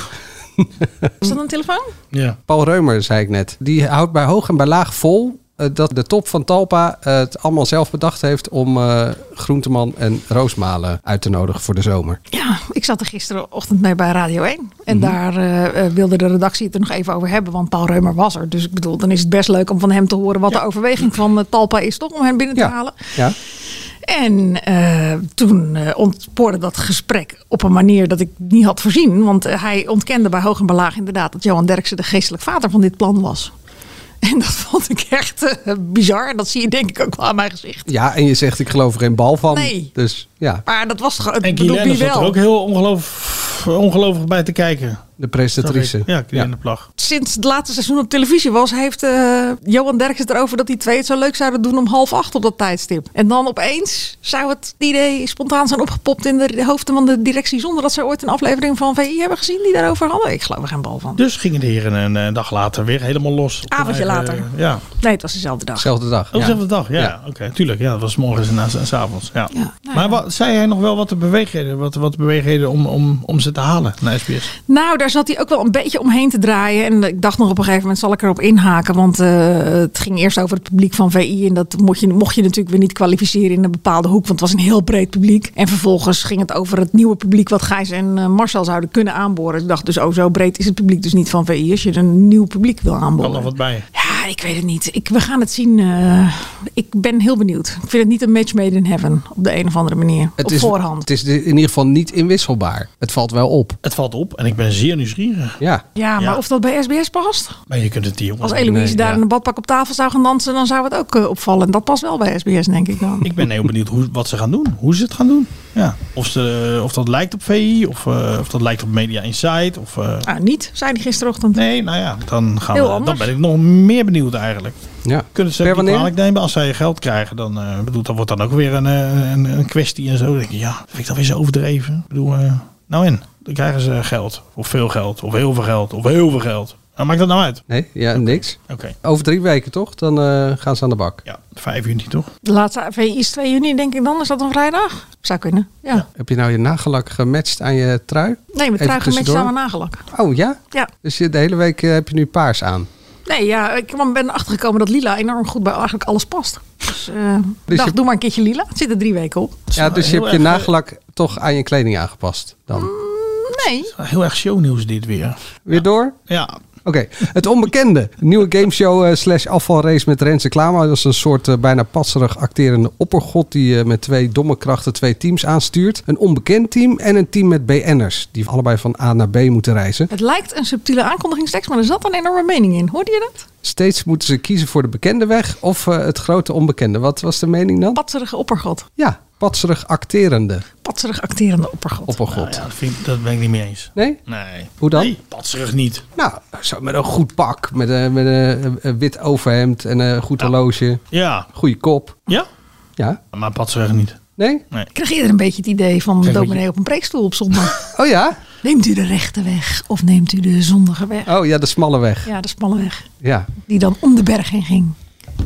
Speaker 5: Is dat een telefoon?
Speaker 6: ja.
Speaker 7: Paul Reumer, zei ik net, die houdt bij hoog en bij laag vol eh, dat de top van Talpa eh, het allemaal zelf bedacht heeft om eh, Groenteman en Roosmalen uit te nodigen voor de zomer.
Speaker 5: Ja, ik zat er gisterenochtend mee bij Radio 1. En
Speaker 7: Mhm.
Speaker 5: daar eh, eh, wilde de redactie het er nog even over hebben. Want Paul Reumer was er. Dus ik bedoel, dan is het best leuk om van hem te horen wat de overweging van eh, Talpa is toch om hem binnen te halen.
Speaker 7: Ja.
Speaker 5: En eh, toen eh, ontspoorde dat gesprek op een manier dat ik niet had voorzien. Want eh, hij ontkende bij hoog en belaag inderdaad dat Johan Derksen de geestelijk vader van dit plan was. En dat vond ik echt eh, bizar. En dat zie je denk ik ook wel aan mijn gezicht.
Speaker 7: Ja, en je zegt ik geloof er geen bal van.
Speaker 5: Nee.
Speaker 7: Dus ja,
Speaker 5: Maar dat was toch...
Speaker 6: En
Speaker 5: ik bedoel,
Speaker 6: Guilaine
Speaker 5: wie
Speaker 6: zat er
Speaker 5: wel?
Speaker 6: ook heel ongeloof, ongelooflijk bij te kijken.
Speaker 7: de presentatrice.
Speaker 6: Zag ik. Ja, Guilaine Plag.
Speaker 5: Sinds het laatste seizoen op televisie was, heeft eh, Johan Derksen het erover dat die twee het zo leuk zouden doen om half acht op dat tijdstip. En dan opeens zou het idee spontaan zijn opgepopt in de hoofden van de directie, zonder dat ze ooit een aflevering van VI hebben gezien die daarover hadden. Ik geloof er geen bal van.
Speaker 6: Dus gingen de heren een eh, dag later weer helemaal los. Op hun
Speaker 5: Avondje
Speaker 6: eigen-
Speaker 5: later.
Speaker 6: Ja.
Speaker 5: Nee, het was dezelfde dag.
Speaker 7: Zelfde dag.
Speaker 6: Op dezelfde dag, ja.
Speaker 7: Ja.
Speaker 6: Oké, tuurlijk. Ja, dat was morgens en naast- en s avonds. Ja.
Speaker 5: nou
Speaker 6: maar wat, zei hij nog wel wat de beweegreden, wat, wat de beweegreden om, om, om ze te halen naar SBS?
Speaker 5: Nou, daar zat hij ook wel een beetje omheen te draaien. En ik dacht nog op een gegeven moment zal ik erop inhaken. Want eh, het ging eerst over het publiek van VI. En dat mocht je, mocht je natuurlijk weer niet kwalificeren in een bepaalde hoek. Want het was een heel breed publiek. En vervolgens ging het over het nieuwe publiek wat Gijs en eh, Marcel zouden kunnen aanboren. Ik dacht dus, oh zo breed is het publiek dus niet van VI. Als je een nieuw publiek wil
Speaker 6: Kan nog
Speaker 5: aanboren.
Speaker 6: wat bij.
Speaker 5: Ja, ik weet het niet. Ik, we gaan het zien. eh. ik ben heel benieuwd. Ik vind het niet een match made in heaven. Op de een of andere manier.
Speaker 7: Het
Speaker 5: op
Speaker 7: is,
Speaker 5: voorhand.
Speaker 7: het is in ieder geval niet inwisselbaar. Het valt wel op.
Speaker 6: Het valt op en ik ben zeer nieuwsgierig.
Speaker 7: Ja.
Speaker 5: Ja, maar
Speaker 6: Ja.
Speaker 5: of dat bij SBS past?
Speaker 6: Maar je kunt het die jongen.
Speaker 5: Als Eloise
Speaker 6: Nee,
Speaker 5: daar
Speaker 6: ja.
Speaker 5: in een badpak op tafel zou gaan dansen, dan zou het ook eh, opvallen. En dat past wel bij SBS, denk ik dan.
Speaker 6: Ik ben heel benieuwd hoe, wat ze gaan doen. Hoe ze het gaan doen. Ja. Of, ze, of dat lijkt op VI, of, eh, of dat lijkt op Media Insight. Of, eh,
Speaker 5: Ah, niet, zei hij gisterochtend.
Speaker 6: Nee, nou ja, dan, gaan
Speaker 5: Heel
Speaker 6: we, dan
Speaker 5: anders.
Speaker 6: ben ik nog meer benieuwd eigenlijk.
Speaker 7: Ja.
Speaker 6: Kunnen ze
Speaker 7: Per
Speaker 6: het niet
Speaker 7: wanneer?
Speaker 6: kwalijk nemen als zij geld krijgen? Dan, eh, ik bedoel, dat wordt dan ook weer een, eh, een, een kwestie en zo. Dan denk je, ja, vind ik dat weer zo overdreven? Ik bedoel, eh, nou en? Dan krijgen ze geld. Of veel geld. Of heel veel geld. Of heel veel geld. Nou, maakt dat nou uit?
Speaker 7: Nee, ja, niks.
Speaker 6: Oké.
Speaker 7: Over drie weken toch? Dan eh, gaan ze aan de bak.
Speaker 6: Ja, 5 juni toch?
Speaker 5: De laatste VI is 2 juni, denk ik dan. Is dat een vrijdag? Zou kunnen, ja.
Speaker 7: Heb je nou je nagelak gematcht aan je trui?
Speaker 5: Nee,
Speaker 7: Even
Speaker 5: met kruigen met
Speaker 7: tussendoor.
Speaker 5: samen nagelak.
Speaker 7: Oh ja?
Speaker 5: Ja.
Speaker 7: Dus je, de hele week eh, heb je nu paars aan.
Speaker 5: Nee, ja, ik kwam- ben achtergekomen dat lila enorm goed bij eigenlijk alles past. Dus, eh
Speaker 7: Dus
Speaker 5: dacht,
Speaker 7: je-
Speaker 5: doe maar een keertje lila. Het zit er drie weken op.
Speaker 7: Ja, dus je
Speaker 6: heel
Speaker 7: hebt je
Speaker 6: erg, eh,
Speaker 7: nagelak toch aan je kleding aangepast dan?
Speaker 5: Nee.
Speaker 6: Heel erg shownieuws dit weer.
Speaker 7: Weer door?
Speaker 6: Ja.
Speaker 7: Oké, het onbekende. Een Nieuwe gameshow eh, slash afvalrace met Renze Klama. Dat is een soort eh, bijna patserig acterende oppergod die eh, met twee domme krachten twee teams aanstuurt. Een onbekend team en een team met BN'ers die allebei van A naar B moeten reizen.
Speaker 5: Het lijkt een subtiele aankondigingstekst, maar er zat een enorme mening in. Hoorde je dat?
Speaker 7: Steeds moeten ze kiezen voor de bekende weg of eh, het grote onbekende. Wat was de mening dan?
Speaker 5: Patserige oppergod.
Speaker 7: Ja, patserig acterende
Speaker 5: Patserig acterende oppergod.
Speaker 7: oppergod.
Speaker 6: nou Ja, dat, vind ik- dat ben ik niet mee eens.
Speaker 7: Nee?
Speaker 6: Nee.
Speaker 7: Hoe dan?
Speaker 6: Nee, patserig niet.
Speaker 7: Nou, zo met een goed pak, met een, met een, een wit overhemd en een goed horloge.
Speaker 6: Ja.
Speaker 7: Goede kop.
Speaker 6: Ja?
Speaker 7: Ja.
Speaker 6: Maar patserig niet.
Speaker 7: Nee?
Speaker 6: Nee.
Speaker 5: Ik kreeg eerder een beetje het idee van
Speaker 6: Kijk,
Speaker 5: dominee op een preekstoel op zondag.
Speaker 7: Oh ja?
Speaker 5: Neemt u de rechte weg of neemt u de zondige weg?
Speaker 7: Oh ja, de smalle weg.
Speaker 5: Ja, de smalle weg.
Speaker 7: Ja.
Speaker 5: Die dan om de berg heen ging.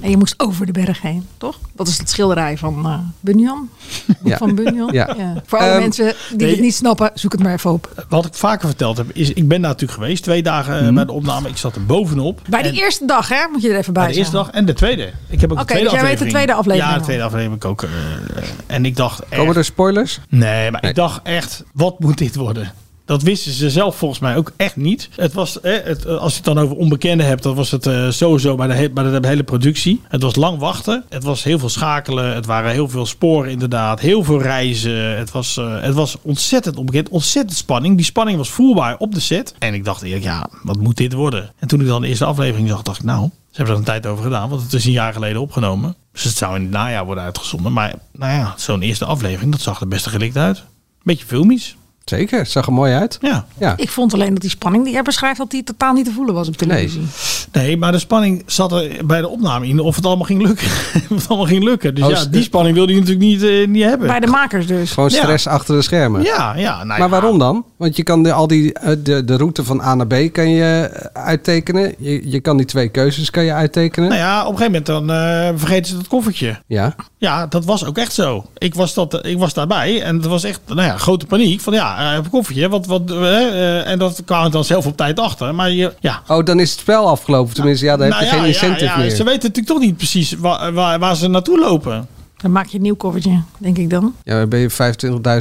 Speaker 5: En je moest over de berg heen, toch? Dat is het schilderij van eh, Bunyan.
Speaker 6: Ja.
Speaker 5: Van Bunyan.
Speaker 6: Ja.
Speaker 5: Voor alle
Speaker 6: Ehm,
Speaker 5: mensen die
Speaker 6: nee. Eh,
Speaker 5: het niet snappen, zoek het maar even op.
Speaker 6: Wat ik vaker verteld heb, is ik ben daar natuurlijk geweest. Twee dagen eh, bij de opname. Ik zat er bovenop.
Speaker 5: Bij de eerste dag, hè? Moet je er even bij
Speaker 6: Bij de eerste
Speaker 5: zeggen.
Speaker 6: dag en de tweede. Ik heb ook
Speaker 5: Oké,
Speaker 6: de tweede
Speaker 5: dus jij weet de
Speaker 6: aflevering.
Speaker 5: tweede aflevering
Speaker 6: Ja, de
Speaker 5: al.
Speaker 6: tweede aflevering heb ik ook. eh, eh, en ik dacht echt...
Speaker 7: Komen er spoilers?
Speaker 6: Nee, maar ik dacht echt, wat moet dit worden? Dat wisten ze zelf volgens mij ook echt niet. Het was, eh, het, eh, als je het dan over onbekenden hebt, dan was het eh, sowieso bij de, he- bij de hele productie. Het was lang wachten. Het was heel veel schakelen. Het waren heel veel sporen inderdaad. Heel veel reizen. Het was, eh, het was ontzettend onbekend. Ontzettend spanning. Die spanning was voelbaar op de set. En ik dacht eerlijk, ja, wat moet dit worden? En toen ik dan de eerste aflevering zag, dacht ik, nou, ze hebben er een tijd over gedaan. Want het is een jaar geleden opgenomen. Dus het zou in het najaar worden uitgezonden. Maar nou ja, zo'n eerste aflevering, dat zag er best gelikt uit. Beetje filmisch.
Speaker 7: Zeker, zag er mooi uit.
Speaker 6: Ja.
Speaker 7: ja.
Speaker 5: Ik vond alleen dat die spanning die jij beschrijft, dat die totaal niet te voelen was op televisie.
Speaker 6: Nee, maar de spanning zat er bij de opname in of het allemaal ging lukken. of het allemaal ging lukken. Dus
Speaker 7: Oh,
Speaker 6: ja,
Speaker 7: st-
Speaker 6: die spanning wilde je natuurlijk niet, eh, niet hebben.
Speaker 5: Bij de makers dus.
Speaker 7: Gewoon stress
Speaker 6: Ja.
Speaker 7: achter de schermen.
Speaker 6: Ja, ja, nou ja.
Speaker 7: maar waarom dan? Want je kan de, al die, eh, de, de route van A naar B kan je eh, uittekenen. Je, je kan die twee keuzes kan je uittekenen.
Speaker 6: Nou ja, op een gegeven moment dan eh, vergeten ze dat koffertje.
Speaker 7: Ja.
Speaker 6: Ja, dat was ook echt zo. Ik was, dat, ik was daarbij en het was echt nou ja, grote paniek. Van ja, eh, een koffertje. Wat, wat, eh, eh, en dat kwam ik dan zelf op tijd achter. Maar je, ja,
Speaker 7: Oh, dan is het spel afgelopen. Tenminste, ja, dan heb je
Speaker 6: Nou
Speaker 7: geen incentive
Speaker 6: ja, ja,
Speaker 7: meer.
Speaker 6: Ze weten natuurlijk toch niet precies waar, waar, waar ze naartoe lopen.
Speaker 5: Dan maak je een nieuw covertje, denk ik dan.
Speaker 7: Ja, dan ben je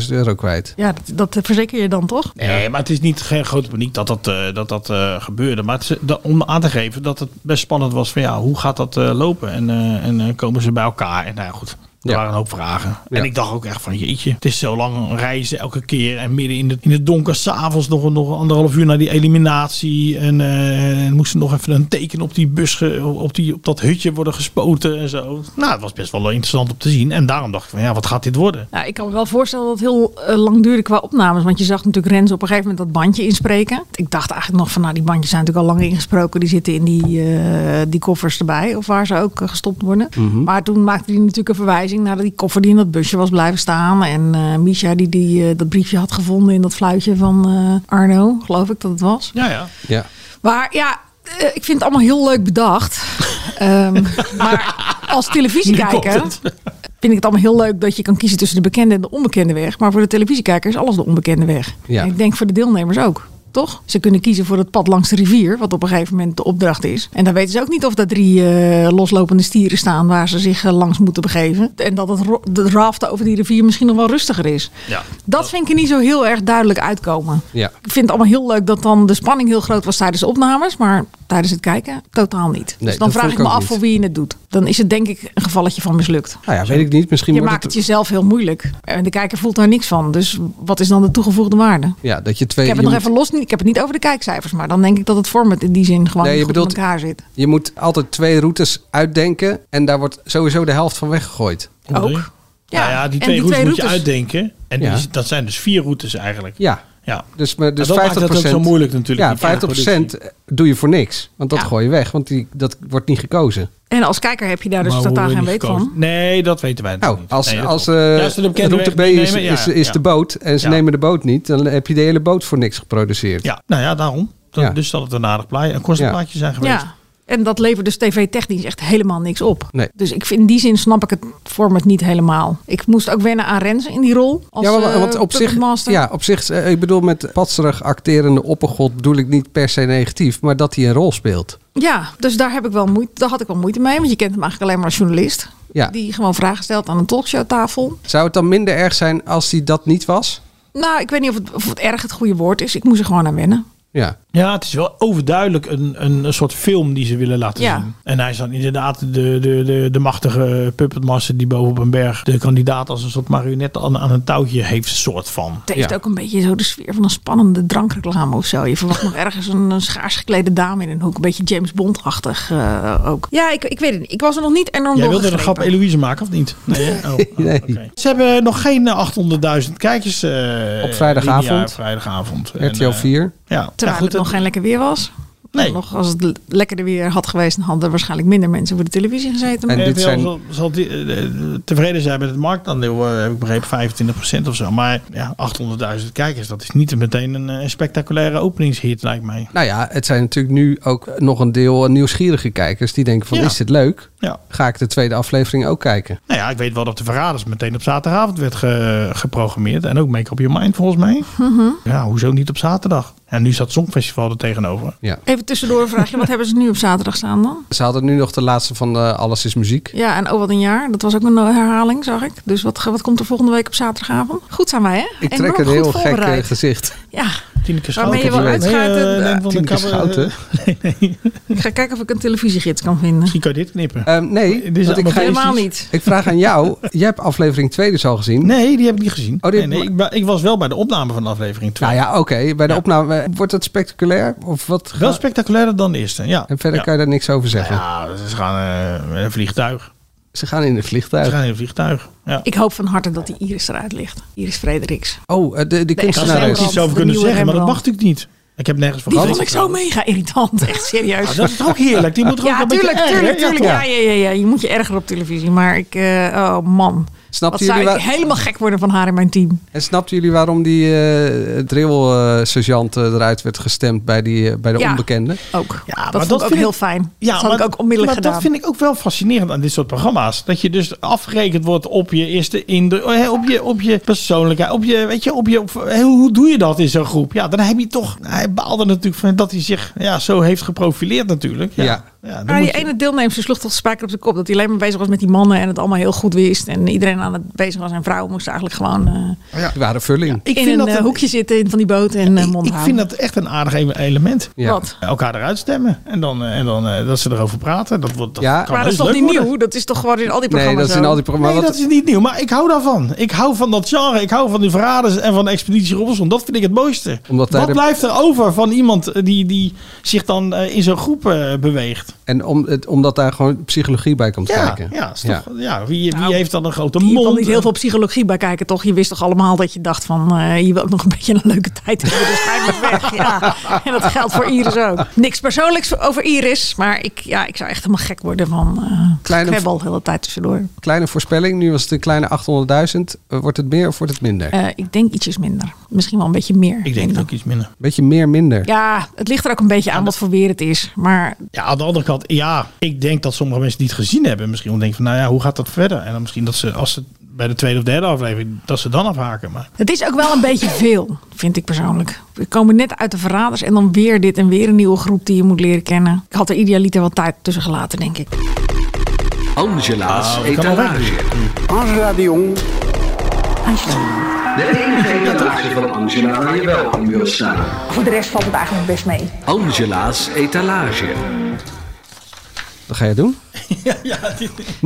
Speaker 7: 25.000 euro kwijt.
Speaker 5: Ja, dat, dat verzeker je dan toch?
Speaker 6: Nee, maar het is niet geen grote paniek dat dat, eh, dat, dat eh, gebeurde. Maar het is, dat, om aan te geven dat het best spannend was van ja, hoe gaat dat eh, lopen? En, eh, en eh, komen ze bij elkaar? En nou ja, goed, er
Speaker 7: Ja.
Speaker 6: waren een hoop vragen.
Speaker 7: Ja.
Speaker 6: En ik dacht ook echt van jeetje, het is zo lang reizen elke keer. En midden in, de, in het donker, s'avonds nog, nog anderhalf uur naar die eliminatie. En, eh, en moesten nog even een teken op die bus, ge- op, die, op dat hutje worden gespoten en zo. Nou, het was best wel interessant om te zien. En daarom dacht ik van ja, wat gaat dit worden?
Speaker 5: Nou, ik kan me wel voorstellen dat het heel eh, lang duurde qua opnames. Want je zag natuurlijk Rens op een gegeven moment dat bandje inspreken. Ik dacht eigenlijk nog van, nou die bandjes zijn natuurlijk al lang ingesproken. Die zitten in die, eh, die koffers erbij. Of waar ze ook eh, gestopt worden.
Speaker 14: Mhm.
Speaker 5: Maar toen maakte hij natuurlijk een verwijzing naar die koffer die in dat busje was blijven staan. En eh Misha die, die eh, dat briefje had gevonden in dat fluitje van eh, Arno. Geloof ik dat het was.
Speaker 6: Ja, ja.
Speaker 7: Ja.
Speaker 5: Maar ja, eh, ik vind het allemaal heel leuk bedacht. Ehm, maar als televisiekijker
Speaker 14: komt
Speaker 5: vind ik het allemaal heel leuk dat je kan kiezen tussen de bekende en de onbekende weg. Maar voor de televisiekijker is alles de onbekende weg.
Speaker 14: Ja.
Speaker 5: En ik denk voor de deelnemers ook. Toch? Ze kunnen kiezen voor het pad langs de rivier, wat op een gegeven moment de opdracht is. En dan weten ze ook niet of daar drie eh, loslopende stieren staan waar ze zich eh, langs moeten begeven. En dat het ro- de raften over die rivier misschien nog wel rustiger is.
Speaker 6: Ja.
Speaker 5: Dat vind ik er niet zo heel erg duidelijk uitkomen.
Speaker 7: Ja.
Speaker 5: Ik vind het allemaal heel leuk dat dan de spanning heel groot was tijdens de opnames, maar tijdens het kijken totaal niet.
Speaker 7: Nee, dat
Speaker 5: dus dan vraag
Speaker 7: vond
Speaker 5: ik
Speaker 7: ik
Speaker 5: me
Speaker 7: ook
Speaker 5: af
Speaker 7: niet.
Speaker 5: voor wie je het doet. Dan is het denk ik een gevalletje van mislukt.
Speaker 7: Nou ja, weet ik niet. Misschien
Speaker 5: je
Speaker 7: wordt
Speaker 5: maakt het
Speaker 7: het...
Speaker 5: jezelf heel moeilijk. En de kijker voelt daar niks van. Dus wat is dan de toegevoegde waarde?
Speaker 7: Ja, dat je twee...
Speaker 5: Ik heb het
Speaker 7: je
Speaker 5: nog
Speaker 7: moet-
Speaker 5: even los. niet- Ik heb het niet over de kijkcijfers, maar dan denk ik dat het format in die zin gewoon
Speaker 7: Nee, je
Speaker 5: goed
Speaker 7: bedoelt-
Speaker 5: in elkaar zit.
Speaker 7: Je moet altijd twee routes uitdenken. En daar wordt sowieso de helft van weggegooid.
Speaker 5: Ook.
Speaker 6: Ja, nou ja die
Speaker 5: en
Speaker 6: twee
Speaker 5: die
Speaker 6: routes
Speaker 5: twee
Speaker 6: moet je
Speaker 5: routes.
Speaker 6: uitdenken. En die
Speaker 7: Ja.
Speaker 6: is- dat zijn dus vier routes eigenlijk.
Speaker 7: Ja.
Speaker 6: ja.
Speaker 7: Dus, maar, dus
Speaker 6: En dat
Speaker 7: 50%,
Speaker 6: maakt het ook zo moeilijk natuurlijk, die
Speaker 7: Ja, 50% doe je voor niks. Want dat
Speaker 5: Ja.
Speaker 7: gooi je weg. Want die, dat wordt niet gekozen.
Speaker 5: En als kijker heb je daar dus
Speaker 7: Maar
Speaker 5: totaal
Speaker 7: hoe
Speaker 5: geen
Speaker 7: niet
Speaker 5: weet
Speaker 7: gekozen? Oh,
Speaker 5: van.
Speaker 6: Nee, dat weten wij natuurlijk niet.
Speaker 7: Nou, Als,
Speaker 6: Nee, dat
Speaker 7: als
Speaker 6: klopt.
Speaker 7: eh,
Speaker 6: Ja, als ze de bekende
Speaker 7: route B
Speaker 6: weg
Speaker 7: is,
Speaker 6: meenemen, ja,
Speaker 7: is,
Speaker 6: ja,
Speaker 7: is
Speaker 6: ja.
Speaker 7: de boot en ze
Speaker 6: Ja.
Speaker 7: nemen de boot niet, dan heb je de hele boot voor niks geproduceerd.
Speaker 6: Ja, nou ja, daarom. Dan,
Speaker 7: Ja.
Speaker 6: Dus dat het een aardig plaatje, een kostenplaatje zijn geweest.
Speaker 5: Ja. En dat levert dus tv-technisch echt helemaal niks op.
Speaker 7: Nee.
Speaker 5: Dus ik vind, in die zin snap ik het format niet helemaal. Ik moest ook wennen aan Renze in die rol. Als,
Speaker 7: ja, maar,
Speaker 5: eh,
Speaker 7: want op zich,
Speaker 5: puppetmaster.
Speaker 7: ja, op zich, eh, ik bedoel met patserig acterende oppergod bedoel ik niet per se negatief, maar dat hij een rol speelt.
Speaker 5: Ja, dus daar, heb ik wel moeite, daar had ik wel moeite mee. Want je kent hem eigenlijk alleen maar als journalist.
Speaker 7: Ja.
Speaker 5: Die gewoon vragen stelt aan een talkshowtafel.
Speaker 7: Zou het dan minder erg zijn als hij dat niet was?
Speaker 5: Nou, ik weet niet of het, of het erg het goede woord is. Ik moest er gewoon aan wennen.
Speaker 7: Ja.
Speaker 6: ja, het is wel overduidelijk een, een, een soort film die ze willen laten
Speaker 5: Ja.
Speaker 6: zien. En hij is dan inderdaad de, de, de, de machtige puppetmaster die boven op een berg de kandidaat als een soort marionet aan, aan een touwtje heeft, soort van.
Speaker 5: Het heeft ook een beetje zo de sfeer van een spannende drankreclame of zo. Je verwacht nog ergens een, een schaars geklede dame in een hoek. Een beetje James Bond-achtig eh, ook. Ja, ik, ik weet het niet. Ik was er nog niet enorm
Speaker 6: Jij wilde de
Speaker 5: doorgegrepen.
Speaker 6: grap Eloïse maken of niet? Nee. hè? Oh, oh, oké. Ze hebben nog geen eh, 800.000 kijkers. eh,
Speaker 7: Op vrijdagavond.
Speaker 6: lineair vrijdagavond. En,
Speaker 7: RTL 4.
Speaker 6: eh, ja,
Speaker 5: Terwijl
Speaker 6: ja, goed,
Speaker 5: het nog geen lekker weer was. Nou,
Speaker 6: Nee.
Speaker 5: Nog, als het le- lekkerder weer had geweest, dan hadden er waarschijnlijk minder mensen voor de televisie gezeten.
Speaker 6: En dit zijn... zal, zal die, eh, eh, tevreden zijn met het marktaandeel, eh, heb ik begrepen, 25% of zo. Maar ja, 800.000 kijkers, dat is niet meteen een, eh, spectaculaire openingshit, lijkt mij.
Speaker 7: Nou ja, het zijn natuurlijk nu ook nog een deel eh, nieuwsgierige kijkers die denken van
Speaker 6: Ja.
Speaker 7: is dit leuk?
Speaker 6: Ja.
Speaker 7: Ga ik de tweede aflevering ook kijken?
Speaker 6: Nou ja, ik weet wel dat de Verraders meteen op zaterdagavond werd ge- geprogrammeerd. En ook Make Up Your Mind, volgens mij.
Speaker 5: Mhm.
Speaker 6: Ja, hoezo niet op zaterdag? En nu zat Songfestival er tegenover.
Speaker 7: Ja.
Speaker 5: Even tussendoor een vraagje. Wat hebben ze nu op zaterdag staan dan?
Speaker 7: Ze hadden nu nog de laatste van eh, Alles is Muziek.
Speaker 5: Ja, en oh wat een jaar. Dat was ook een eh, herhaling, zag ik. Dus wat, wat komt er volgende week op zaterdagavond? Goed zijn wij, hè?
Speaker 7: Ik
Speaker 5: Enorm
Speaker 7: trek een
Speaker 5: goed
Speaker 7: heel gek eh,
Speaker 5: voorbereid.
Speaker 7: gezicht.
Speaker 5: Ja.
Speaker 6: Tineke
Speaker 5: Schouten. Waarmee je wel uitschuift.
Speaker 6: Nee, eh, neem van de
Speaker 7: Tineke
Speaker 6: kabber-
Speaker 7: Schouten.
Speaker 5: Ik ga kijken of ik een televisiegids kan vinden.
Speaker 6: Misschien kan je dit knippen.
Speaker 7: Ehm, nee,
Speaker 6: Dit is
Speaker 7: want ik ga-
Speaker 5: helemaal niet.
Speaker 7: Ik vraag aan jou. Jij hebt aflevering 2 dus al gezien.
Speaker 6: Nee, die heb ik niet gezien.
Speaker 7: Oh, die
Speaker 6: nee, nee, ik, ba- ik was wel bij de opname van de aflevering 2.
Speaker 7: Nou ja, oké. Bij de opname eh, wordt het spectaculair of wat?
Speaker 6: Wel spectaculairder dan de eerste, ja.
Speaker 7: En verder
Speaker 6: Ja. Nou
Speaker 7: kan je daar niks over zeggen.
Speaker 6: Ja, ze gaan eh, met een vliegtuig.
Speaker 7: Ze gaan in een vliegtuig.
Speaker 6: Ze gaan in een vliegtuig. Ja.
Speaker 5: Ik hoop van harte dat die Iris eruit ligt. Iris Frederiks.
Speaker 7: Oh, eh, de, de
Speaker 5: echte
Speaker 6: Daar zou ik
Speaker 7: kunstenares.
Speaker 6: iets over kunnen zeggen, maar dat mag natuurlijk niet. Ik heb nergens voor
Speaker 5: Die vond ik
Speaker 6: gelezen.
Speaker 5: zo mega irritant. Echt serieus.
Speaker 6: Ah, dat is toch ook heerlijk? Die moet toch ook
Speaker 5: ja,
Speaker 6: een beetje
Speaker 5: tuurlijk,
Speaker 6: erg, hè?
Speaker 5: tuurlijk,
Speaker 6: Ja,
Speaker 5: tuurlijk.
Speaker 6: toch?
Speaker 5: Ja, ja, ja, ja. Je moet je erger op televisie. Maar ik, eh, oh man.
Speaker 7: Snapten
Speaker 5: Wat zou ik
Speaker 7: jullie wel-
Speaker 5: helemaal gek worden van haar in mijn team.
Speaker 7: En snapten jullie waarom die eh drill-sergeant eruit werd gestemd bij, die, eh, bij de
Speaker 5: Ja.
Speaker 7: onbekende?
Speaker 5: Ook.
Speaker 6: Ja,
Speaker 5: dat vond ik ook heel fijn. dat had ik ook onmiddellijk
Speaker 6: maar
Speaker 5: gedaan.
Speaker 6: dat vind ik ook wel fascinerend aan dit soort programma's. Dat je dus afgerekend wordt op je eerste indruk, oh, hè, op je, op je persoonlijkheid, op je, weet je, op je, op, hè, hoe, hoe doe je dat in zo'n groep? Ja, dan heb je toch, hij baalde natuurlijk van dat hij zich ja, zo heeft geprofileerd natuurlijk. Ja.
Speaker 7: Ja.
Speaker 6: dan
Speaker 5: Maar
Speaker 6: moet
Speaker 5: die
Speaker 6: je-
Speaker 5: ene deelnemster sloeg toch de spijker op de kop. Dat hij alleen maar bezig was met die mannen en het allemaal heel goed wist. En iedereen aan het bezig was. En vrouwen moesten eigenlijk gewoon eh,
Speaker 7: Die waren vulling.
Speaker 6: ik
Speaker 5: in
Speaker 6: vind
Speaker 5: een
Speaker 6: dat
Speaker 5: eh,
Speaker 6: een-
Speaker 5: hoekje zitten in van die boot en eh, mond
Speaker 6: ik
Speaker 5: houden.
Speaker 6: vind dat echt een aardig e- element.
Speaker 7: Ja.
Speaker 5: Wat?
Speaker 6: Elkaar eruit stemmen. En dan, eh, en dan eh, dat ze erover praten. Dat, wordt, dat
Speaker 7: Ja.
Speaker 6: kan
Speaker 5: Maar dat is
Speaker 6: heus leuk
Speaker 5: toch niet
Speaker 6: worden.
Speaker 5: nieuw? Dat is toch gewoon in al
Speaker 7: Nee,
Speaker 5: die programma's
Speaker 7: dat is in
Speaker 5: zo?
Speaker 7: al die programma's.
Speaker 6: Nee,
Speaker 7: wat-
Speaker 6: dat is niet nieuw. Maar ik hou daarvan. Ik hou van dat genre. Ik hou van de Verraders en van Expeditie Robinson. Dat vind ik het mooiste.
Speaker 7: Omdat daar
Speaker 6: Wat
Speaker 7: de-
Speaker 6: blijft er over van iemand eh, die, die zich dan eh, in zo'n groep eh, beweegt?
Speaker 7: En om, het, omdat daar gewoon psychologie bij komt
Speaker 6: Ja,
Speaker 7: kijken.
Speaker 6: ja, is toch, ja. wie, wie
Speaker 5: Nou,
Speaker 6: heeft dan een grote
Speaker 5: Je kon
Speaker 6: mond?
Speaker 5: niet heel veel psychologie bij kijken, toch? Je wist toch allemaal dat je dacht van... eh, je wil ook nog een beetje een leuke tijd hebben, dus ga je maar weg. Ja. En dat geldt voor Iris ook. Niks persoonlijks over Iris, maar ik, ja, ik zou echt helemaal gek worden van... eh
Speaker 7: Kleine-
Speaker 5: kwebbel de hele tijd tussendoor.
Speaker 7: Kleine voorspelling. Nu was het een kleine 800.000. Eh, Wordt het meer of wordt het minder?
Speaker 5: Eh, ik denk ietsjes minder. Misschien wel een beetje meer.
Speaker 6: Ik denk het ook iets minder.
Speaker 7: Beetje meer, minder.
Speaker 5: Ja, het ligt er ook een beetje aan wat voor weer het is. Maar
Speaker 6: Ja, aan de andere kant, ja, ik denk dat sommige mensen het niet gezien hebben. Misschien omdat denken van, nou ja, hoe gaat dat verder? En dan misschien dat ze, als ze bij de tweede of derde aflevering, dat ze dan afhaken. Maar
Speaker 5: het is ook wel een beetje veel, vind ik persoonlijk. We komen net uit de verraders en dan weer dit en weer een nieuwe groep die je moet leren kennen. Ik had er idealiter wat tijd tussen gelaten, denk ik.
Speaker 11: Angela's
Speaker 6: Ah, we kunnen wel
Speaker 11: etalage. Angela de Jong. De enige etalage van Angela waar je wel aan wil staan.
Speaker 14: Voor de rest valt het eigenlijk best mee.
Speaker 11: Angela's etalage.
Speaker 7: Wat ga je doen?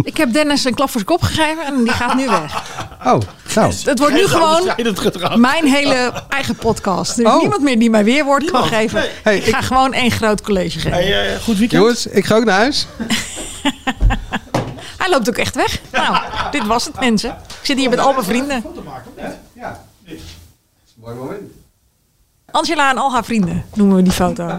Speaker 5: Ik heb Dennis een klap voor zijn kop gegeven en die gaat nu weg.
Speaker 7: Oh, nou.
Speaker 5: Het wordt nu
Speaker 6: Heel
Speaker 5: gewoon
Speaker 6: overschrijdend gedrag.
Speaker 5: mijn hele eigen podcast. Er is
Speaker 7: Oh.
Speaker 5: niemand meer die mij weerwoord kan geven.
Speaker 7: Hey,
Speaker 5: ik ga gewoon één groot college geven.
Speaker 6: Hey, eh, goed weekend.
Speaker 7: Jongens, ik ga ook naar huis.
Speaker 5: Hij loopt ook echt weg. Nou, dit was het mensen. Ik zit hier met al mijn vrienden.
Speaker 7: Mooi moment.
Speaker 5: Angela en al haar vrienden noemen we die foto.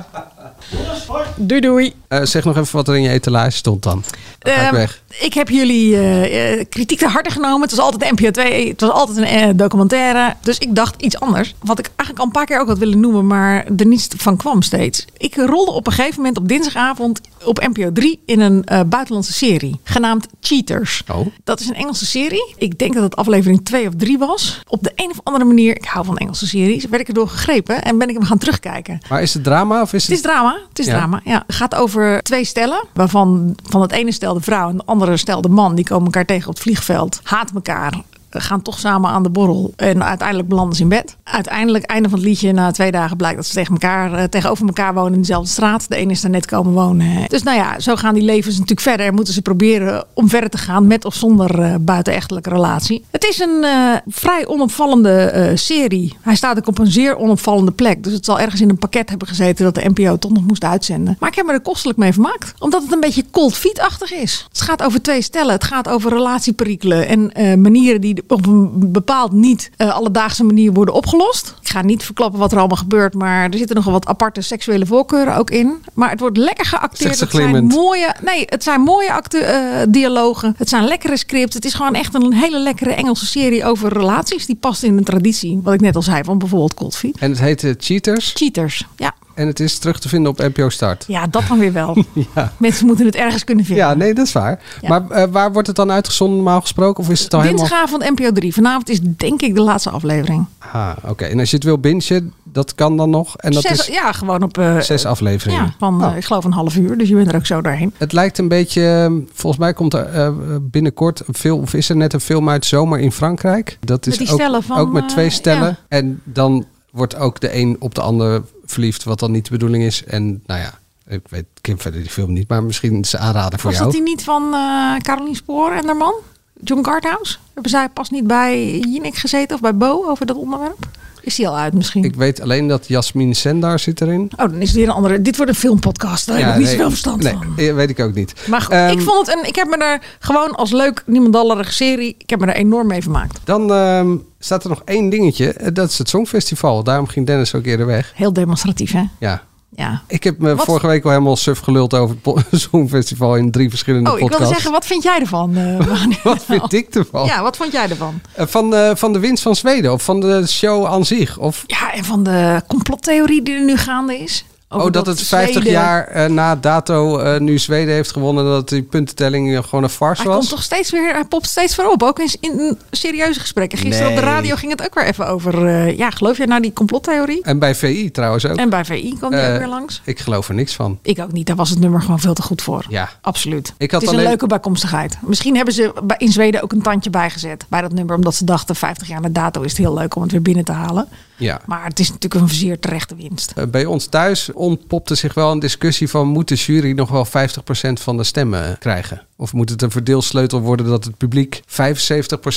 Speaker 5: Doei doei.
Speaker 7: Eh, zeg nog even wat er in je etalage stond dan. Dan ga ik
Speaker 5: Ehm,
Speaker 7: weg.
Speaker 5: ik heb jullie eh, eh, kritiek te harte genomen. Het was altijd NPO 2, het was altijd een eh, documentaire. Dus ik dacht iets anders. Wat ik eigenlijk al een paar keer ook had willen noemen, maar er niets van kwam steeds. Ik rolde op een gegeven moment op dinsdagavond op NPO 3 in een eh, buitenlandse serie. Genaamd Cheaters.
Speaker 7: Oh.
Speaker 5: Dat is een Engelse serie. Ik denk dat het aflevering 2 of 3 was. Op de een of andere manier, ik hou van Engelse series, werd ik erdoor gegrepen en ben ik hem gaan terugkijken.
Speaker 7: Maar is het drama of is
Speaker 5: Het is
Speaker 7: het...
Speaker 5: drama. Het is
Speaker 7: Dus Ja.
Speaker 5: drama. Ja, het gaat over twee stellen. Waarvan van het ene stel de vrouw en het andere stel de man. Die komen elkaar tegen op het vliegveld. Haat elkaar. gaan toch samen aan de borrel. En uiteindelijk belanden ze in bed. Uiteindelijk, einde van het liedje, na twee dagen blijkt dat ze tegen elkaar, eh, tegenover elkaar wonen in dezelfde straat. De een is daar net komen wonen. Dus nou ja, zo gaan die levens natuurlijk verder. En moeten ze proberen om verder te gaan met of zonder eh, buitenechtelijke relatie. Het is een eh, vrij onopvallende eh, serie. Hij staat ook op een zeer onopvallende plek. Dus het zal ergens in een pakket hebben gezeten dat de NPO toch nog moest uitzenden. Maar ik heb me er kostelijk mee vermaakt. Omdat het een beetje cold feet-achtig is. Het gaat over twee stellen. Het gaat over relatieperikelen. En eh, manieren die op een bepaald niet eh, alledaagse manier worden opgelost. Ik ga niet verklappen wat er allemaal gebeurt. Maar er zitten nogal wat aparte seksuele voorkeuren ook in. Maar het wordt lekker
Speaker 7: Zegt
Speaker 5: geacteerd.
Speaker 7: ze
Speaker 5: Het zijn
Speaker 7: glimmend.
Speaker 5: mooie, nee, het zijn mooie acte, eh, dialogen. Het zijn lekkere scripts. Het is gewoon echt een hele lekkere Engelse serie over relaties. Die past in de traditie. Wat ik net al zei van bijvoorbeeld Cold Feet.
Speaker 7: En het heet eh, Cheaters.
Speaker 5: Cheaters, ja.
Speaker 7: En het is terug te vinden op NPO Start.
Speaker 5: Ja, dat dan weer wel.
Speaker 7: Ja.
Speaker 5: Mensen moeten het ergens kunnen vinden.
Speaker 7: Ja, nee, dat is waar.
Speaker 5: Ja.
Speaker 7: Maar eh, waar wordt het dan uitgezonden normaal gesproken? Of is het al helemaal...
Speaker 5: Dinsdagavond NPO 3. Vanavond is denk ik de laatste aflevering.
Speaker 7: Ah, oké. En als je het wil bingen, dat kan dan nog. En dat
Speaker 5: Zes-
Speaker 7: is
Speaker 5: Ja, gewoon op... eh,
Speaker 7: zes Oh. afleveringen.
Speaker 5: Ja, van eh, ik geloof een half uur. Dus je bent er ook zo doorheen.
Speaker 7: Het lijkt een beetje, eh, volgens mij komt er eh, binnenkort een film, of is er net een film uit Zomer in Frankrijk. Dat is
Speaker 5: Met die
Speaker 7: ook,
Speaker 5: stellen van,
Speaker 7: ook met twee
Speaker 5: eh,
Speaker 7: stellen.
Speaker 5: ja.
Speaker 7: En dan wordt ook de een op de ander verliefd, wat dan niet de bedoeling is. En nou ja, ik weet, ik ken verder die film niet, maar misschien is ze aanraden voor
Speaker 5: Was
Speaker 7: jou.
Speaker 5: dat die niet van eh Caroline Spoor en haar man? John Gardhouse? Hebben zij pas niet bij Jinek gezeten of bij Bo over dat onderwerp? Is die al uit misschien?
Speaker 7: Ik weet alleen dat Jasmin Sendar zit erin.
Speaker 5: Oh, dan is het weer een andere. Dit wordt een filmpodcast. Daar heb ik niet
Speaker 7: nee,
Speaker 5: zoveel verstand
Speaker 7: nee,
Speaker 5: van.
Speaker 7: eh, weet ik ook niet.
Speaker 5: Maar goed,
Speaker 7: Ehm,
Speaker 5: ik vond het een, ik heb me daar gewoon als leuk, niemandallerige serie, ik heb me daar enorm mee vermaakt.
Speaker 7: Dan ehm, staat er nog één dingetje. Eh, Dat is het Songfestival. Daarom ging Dennis ook eerder weg.
Speaker 5: Heel demonstratief, hè?
Speaker 7: Ja.
Speaker 5: Ja.
Speaker 7: Ik heb me
Speaker 5: Wat-
Speaker 7: vorige week al helemaal suf geluld over het po- Songfestival in drie verschillende
Speaker 5: Oh, ik wilde
Speaker 7: podcasts.
Speaker 5: zeggen, wat vind jij ervan? eh, Manu?
Speaker 7: Wat vind ik ervan?
Speaker 5: ja, wat vond jij ervan?
Speaker 7: Eh, Van, eh, van de winst van Zweden of van de show aan zich? Of,
Speaker 5: Ja, en van de complottheorie die er nu gaande is.
Speaker 7: oh,
Speaker 5: Over
Speaker 7: dat, het 50
Speaker 5: Zweden-
Speaker 7: jaar eh, na dato eh, nu Zweden heeft gewonnen. Dat die puntentelling eh, gewoon een farce
Speaker 5: Hij
Speaker 7: was.
Speaker 5: komt toch steeds weer, hij popt steeds weer op. Ook in, in serieuze gesprekken. Gisteren op de
Speaker 7: Nee.
Speaker 5: radio ging het ook weer even over. eh, ja, geloof je nou die complottheorie?
Speaker 7: En bij VI trouwens ook.
Speaker 5: En bij VI kwam die
Speaker 7: Eh,
Speaker 5: ook weer langs.
Speaker 7: Ik geloof er niks van.
Speaker 5: Ik ook niet, daar was het nummer gewoon veel te goed voor.
Speaker 7: Ja.
Speaker 5: Absoluut.
Speaker 7: Ik had
Speaker 5: het is
Speaker 7: alleen-
Speaker 5: een leuke bijkomstigheid. Misschien hebben ze bij- in Zweden ook een tandje bijgezet bij dat nummer. Omdat ze dachten, 50 jaar na dato is het heel leuk om het weer binnen te halen.
Speaker 7: Ja.
Speaker 5: Maar het is natuurlijk een zeer terechte winst.
Speaker 7: Eh, Bij ons thuis ontpopte zich wel een discussie van... moet de jury nog wel 50% van de stemmen krijgen? Of moet het een verdeelsleutel worden dat het publiek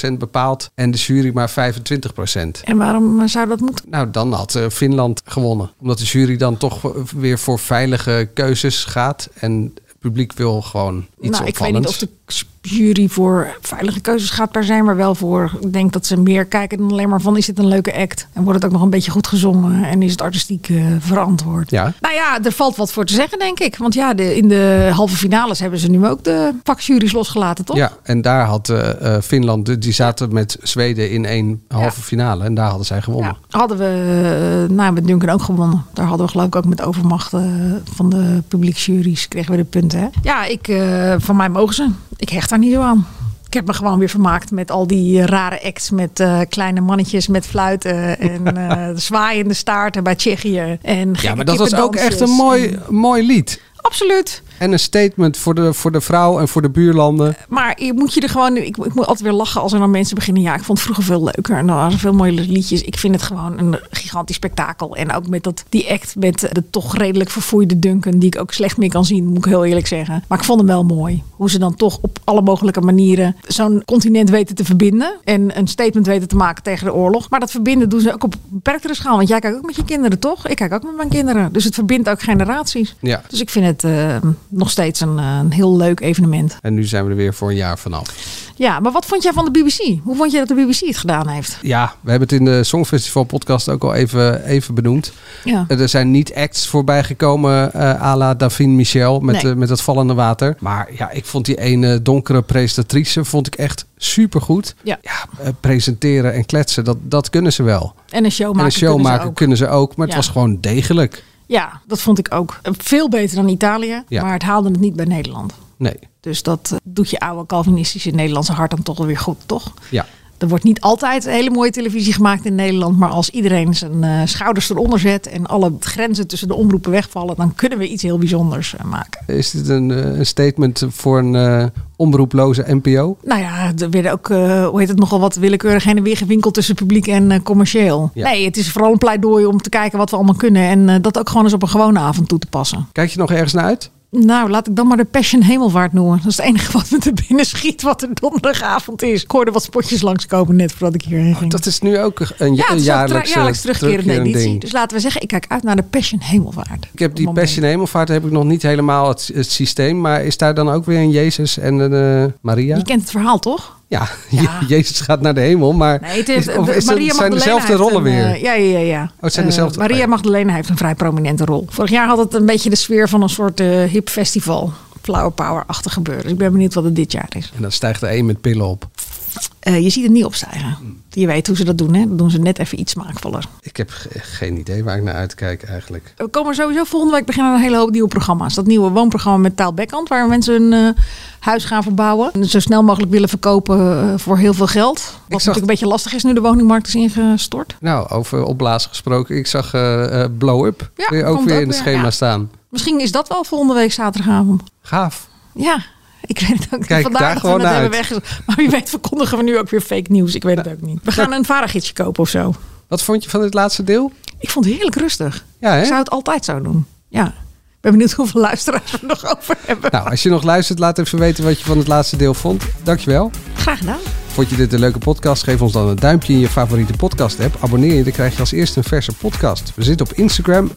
Speaker 7: 75% bepaalt... en de jury maar 25%?
Speaker 5: En waarom eh, zou dat moeten?
Speaker 7: Nou, dan had eh, Finland gewonnen. Omdat de jury dan toch eh, weer voor veilige keuzes gaat... en het publiek wil gewoon iets
Speaker 5: nou, ik weet niet
Speaker 7: opvallends.
Speaker 5: of de jury voor veilige keuzes gaat per zijn, maar wel voor. Ik denk dat ze meer kijken dan alleen maar van is dit een leuke act? En wordt het ook nog een beetje goed gezongen? En is het artistiek eh, verantwoord?
Speaker 7: Ja.
Speaker 5: Nou ja, er valt wat voor te zeggen, denk ik. Want ja, de, in de halve finales hebben ze nu ook de vakjuries losgelaten, toch?
Speaker 7: Ja, en daar had eh, eh, Finland, die zaten met Zweden in één halve finale en daar hadden zij gewonnen.
Speaker 5: Hadden we eh, nou, met Duncan ook gewonnen. Daar hadden we geloof ik ook met overmacht eh, van de publieksjuries kregen we de punten. Hè? Ja, ik, eh, van mij mogen ze. Ik hecht daar niet zo aan. Ik heb me gewoon weer vermaakt met al die eh, rare acts met eh, kleine mannetjes met fluiten en eh zwaaiende staarten bij Tsjechië. En
Speaker 7: Ja,
Speaker 5: gekke
Speaker 7: maar dat was ook
Speaker 5: kippendansjes. Mm.
Speaker 7: echt een mooi, mooi lied.
Speaker 5: Absoluut.
Speaker 7: En een statement voor de, voor de vrouw en voor de buurlanden.
Speaker 5: Maar je moet je er gewoon. Ik, ik moet altijd weer lachen als er dan mensen beginnen. Ja, ik vond het vroeger veel leuker. En dan waren er veel mooie liedjes. Ik vind het gewoon een gigantisch spektakel. En ook met dat, die act met de toch redelijk verfoeide Duncan. Die ik ook slecht meer kan zien, moet ik heel eerlijk zeggen. Maar ik vond hem wel mooi. Hoe ze dan toch op alle mogelijke manieren zo'n continent weten te verbinden. En een statement weten te maken tegen de oorlog. Maar dat verbinden doen ze ook op beperktere schaal. Want jij kijkt ook met je kinderen, toch? Ik kijk ook met mijn kinderen. Dus het verbindt ook generaties.
Speaker 7: Ja.
Speaker 5: Dus ik vind het eh, nog steeds een, eh, een heel leuk evenement.
Speaker 7: En nu zijn we er weer voor een jaar vanaf.
Speaker 5: Ja, maar wat vond jij van de BBC? Hoe vond je dat de BBC het gedaan heeft?
Speaker 7: Ja, we hebben het in de Songfestival podcast ook al even, even benoemd.
Speaker 5: Ja.
Speaker 7: Er zijn niet acts voorbij gekomen eh à la Davin Michel met,
Speaker 5: Nee.
Speaker 7: eh, met het vallende water. Maar ja, ik vond die ene donkere presentatrice vond ik echt supergoed.
Speaker 5: Ja.
Speaker 7: Eh, presenteren en kletsen, dat, dat kunnen ze wel.
Speaker 5: En een show
Speaker 7: en
Speaker 5: maken.
Speaker 7: een show
Speaker 5: kunnen ze
Speaker 7: maken
Speaker 5: ook.
Speaker 7: kunnen ze ook, maar het
Speaker 5: Ja.
Speaker 7: was gewoon degelijk.
Speaker 5: Ja, dat vond ik ook. Eh, Veel beter dan Italië,
Speaker 7: Ja.
Speaker 5: maar het haalde het niet bij Nederland.
Speaker 7: Nee,
Speaker 5: Dus dat eh, doet je oude Calvinistische Nederlandse hart dan toch wel weer goed, toch?
Speaker 7: ja.
Speaker 5: Er wordt niet altijd hele mooie televisie gemaakt in Nederland. Maar als iedereen zijn eh, schouders eronder zet en alle grenzen tussen de omroepen wegvallen, dan kunnen we iets heel bijzonders eh, maken.
Speaker 7: Is dit een, eh, een statement voor een eh, omroeploze NPO?
Speaker 5: Nou ja, er werden ook, eh, hoe heet het, nogal wat willekeurig heen en weer gewinkeld tussen publiek en eh, commercieel.
Speaker 7: Ja.
Speaker 5: Nee, het is vooral een pleidooi om te kijken wat we allemaal kunnen en eh, dat ook gewoon eens op een gewone avond toe te passen.
Speaker 7: Kijk je nog ergens naar uit?
Speaker 5: Nou, laat ik dan maar de Passion Hemelvaart noemen. Dat is het enige wat me te binnen schiet wat er donderdagavond is. Ik hoorde wat spotjes langskomen net voordat ik hierheen ging.
Speaker 7: Oh, dat is nu ook een
Speaker 5: ja, het is wel tra-
Speaker 7: jaarlijks, eh,
Speaker 5: jaarlijks terugkerende
Speaker 7: terugkerend
Speaker 5: editie.
Speaker 7: ding.
Speaker 5: Dus laten we zeggen, ik kijk uit naar de Passion Hemelvaart.
Speaker 7: Ik heb die Passion Hemelvaart heb ik nog niet helemaal het, het systeem. Maar is daar dan ook weer een Jezus en een eh, Maria?
Speaker 5: Je kent het verhaal toch?
Speaker 7: Ja, Je- Jezus gaat naar de hemel, maar
Speaker 5: Nee, het is,
Speaker 7: is- of is dat-
Speaker 5: Maria
Speaker 7: zijn
Speaker 5: Magdalena
Speaker 7: dezelfde
Speaker 5: heeft
Speaker 7: rollen
Speaker 5: een,
Speaker 7: weer? Oh,
Speaker 5: eh, ja, ja, ja. ja.
Speaker 7: het zijn
Speaker 5: Eh,
Speaker 7: dezelfde-
Speaker 5: Maria Magdalena heeft een vrij prominente rol. Vorig jaar had het een beetje de sfeer van een soort eh, hip festival. Flower power-achtig gebeuren. Dus ik ben benieuwd wat het dit jaar is.
Speaker 7: En dan stijgt er één met pillen op.
Speaker 5: Eh, je ziet het niet opstijgen. Je weet hoe ze dat doen, hè? Dat doen ze net even iets smaakvoller.
Speaker 7: Ik heb ge- geen idee waar ik naar uitkijk eigenlijk.
Speaker 5: We komen sowieso volgende week beginnen aan een hele hoop nieuwe programma's. Dat nieuwe woonprogramma met Taal Bekkant, waar mensen hun eh, huis gaan verbouwen. En zo snel mogelijk willen verkopen eh, voor heel veel geld. Wat natuurlijk een beetje lastig is nu de woningmarkt is ingestort.
Speaker 7: Nou, over opblazen gesproken. Ik zag eh, eh, Blow Up
Speaker 5: Ja,
Speaker 7: weer ook
Speaker 5: komt
Speaker 7: weer
Speaker 5: ook
Speaker 7: in het
Speaker 5: weer,
Speaker 7: schema
Speaker 5: ja.
Speaker 7: staan.
Speaker 5: Misschien is dat wel volgende week zaterdagavond.
Speaker 7: Gaaf.
Speaker 5: Ja, ik weet het ook niet.
Speaker 7: Kijk daar
Speaker 5: dat
Speaker 7: gewoon
Speaker 5: we
Speaker 7: naar
Speaker 5: het hebben wegge- Maar wie weet verkondigen we nu ook weer fake nieuws. Ik weet het ook niet. We gaan een vadergidsje kopen of zo.
Speaker 7: Wat vond je van dit laatste deel?
Speaker 5: Ik vond het heerlijk rustig.
Speaker 7: Ja, hè?
Speaker 5: Ik zou het altijd zo doen. Ja. Ik ben benieuwd hoeveel luisteraars we nog over hebben.
Speaker 7: Nou, als je nog luistert, laat even weten wat je van het laatste deel vond. Dankjewel.
Speaker 5: Graag gedaan.
Speaker 7: Vond je dit een leuke podcast? Geef ons dan een duimpje in je favoriete podcast app. Abonneer je, dan krijg je als eerste een verse podcast. We zitten op Instagram,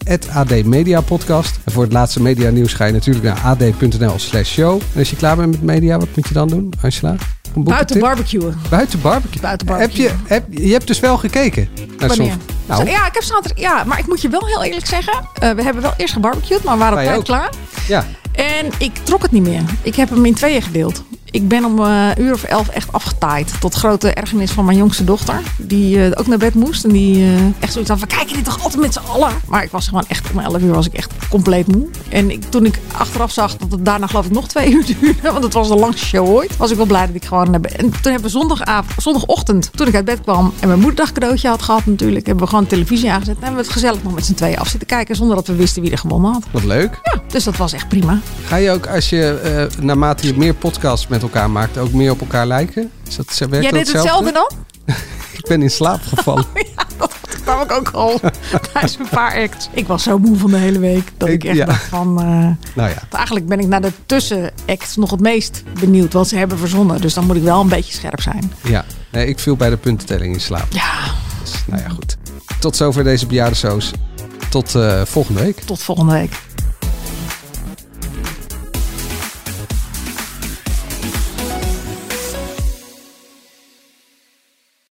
Speaker 7: @admediapodcast. En voor het laatste media nieuws ga je natuurlijk naar ad.nl slash show. En als je klaar bent met media, wat moet je dan doen, Angela? Een
Speaker 5: Buiten
Speaker 7: boekentip?
Speaker 5: barbecuen.
Speaker 7: Buiten barbecue.
Speaker 5: Buiten
Speaker 7: Heb
Speaker 5: barbecuen.
Speaker 7: je, heb, je hebt dus wel gekeken naar
Speaker 5: Wanneer?
Speaker 7: Song- Nou,
Speaker 5: Ja, ik heb zaterdag. Ja, maar ik moet je wel heel eerlijk zeggen. eh, we hebben wel eerst gebarbecued, maar we waren op
Speaker 7: Wij
Speaker 5: tijd
Speaker 7: ook.
Speaker 5: klaar.
Speaker 7: ja.
Speaker 5: En ik trok het niet meer. Ik heb hem in tweeën gedeeld. Ik ben om eh, een uur of elf echt afgetaaid. Tot grote ergernis van mijn jongste dochter. Die eh, ook naar bed moest. En die eh, echt zoiets had van, kijk je dit toch altijd met z'n allen? Maar ik was gewoon echt, om elf uur was ik echt compleet moe. En ik, toen ik achteraf zag dat het daarna geloof ik nog twee uur duurde. Want het was de langste show ooit. Was ik wel blij dat ik gewoon naar bed... En toen hebben we zondagavond, zondagochtend, toen ik uit bed kwam... en mijn moederdag cadeautje had gehad natuurlijk... hebben we gewoon televisie aangezet. En hebben we het gezellig nog met z'n tweeën af zitten kijken... zonder dat we wisten wie er gewonnen had.
Speaker 7: Wat leuk.
Speaker 5: Ja, dus dat was echt prima.
Speaker 7: Ga je ook als je eh, naarmate je meer podcasts met elkaar maakt, ook meer op elkaar lijken? Is dat, werkt
Speaker 5: Jij
Speaker 7: dat
Speaker 5: deed hetzelfde dan?
Speaker 7: Ik ben in slaap gevallen.
Speaker 5: Toen kwam ik ook al tijdens een paar acts. Ik was zo moe van de hele week dat ik,
Speaker 7: Ik-
Speaker 5: echt
Speaker 7: ja.
Speaker 5: dacht van... eh,
Speaker 7: nou ja.
Speaker 5: eigenlijk ben ik naar de tussenacts nog het meest benieuwd wat ze hebben verzonnen. Dus dan moet ik wel een beetje scherp zijn.
Speaker 7: Ja, nee, ik viel bij de puntentelling in slaap.
Speaker 5: Ja.
Speaker 7: Dus, nou ja, goed. Tot zover deze bejaardensoos. Tot eh, volgende week.
Speaker 5: Tot volgende week.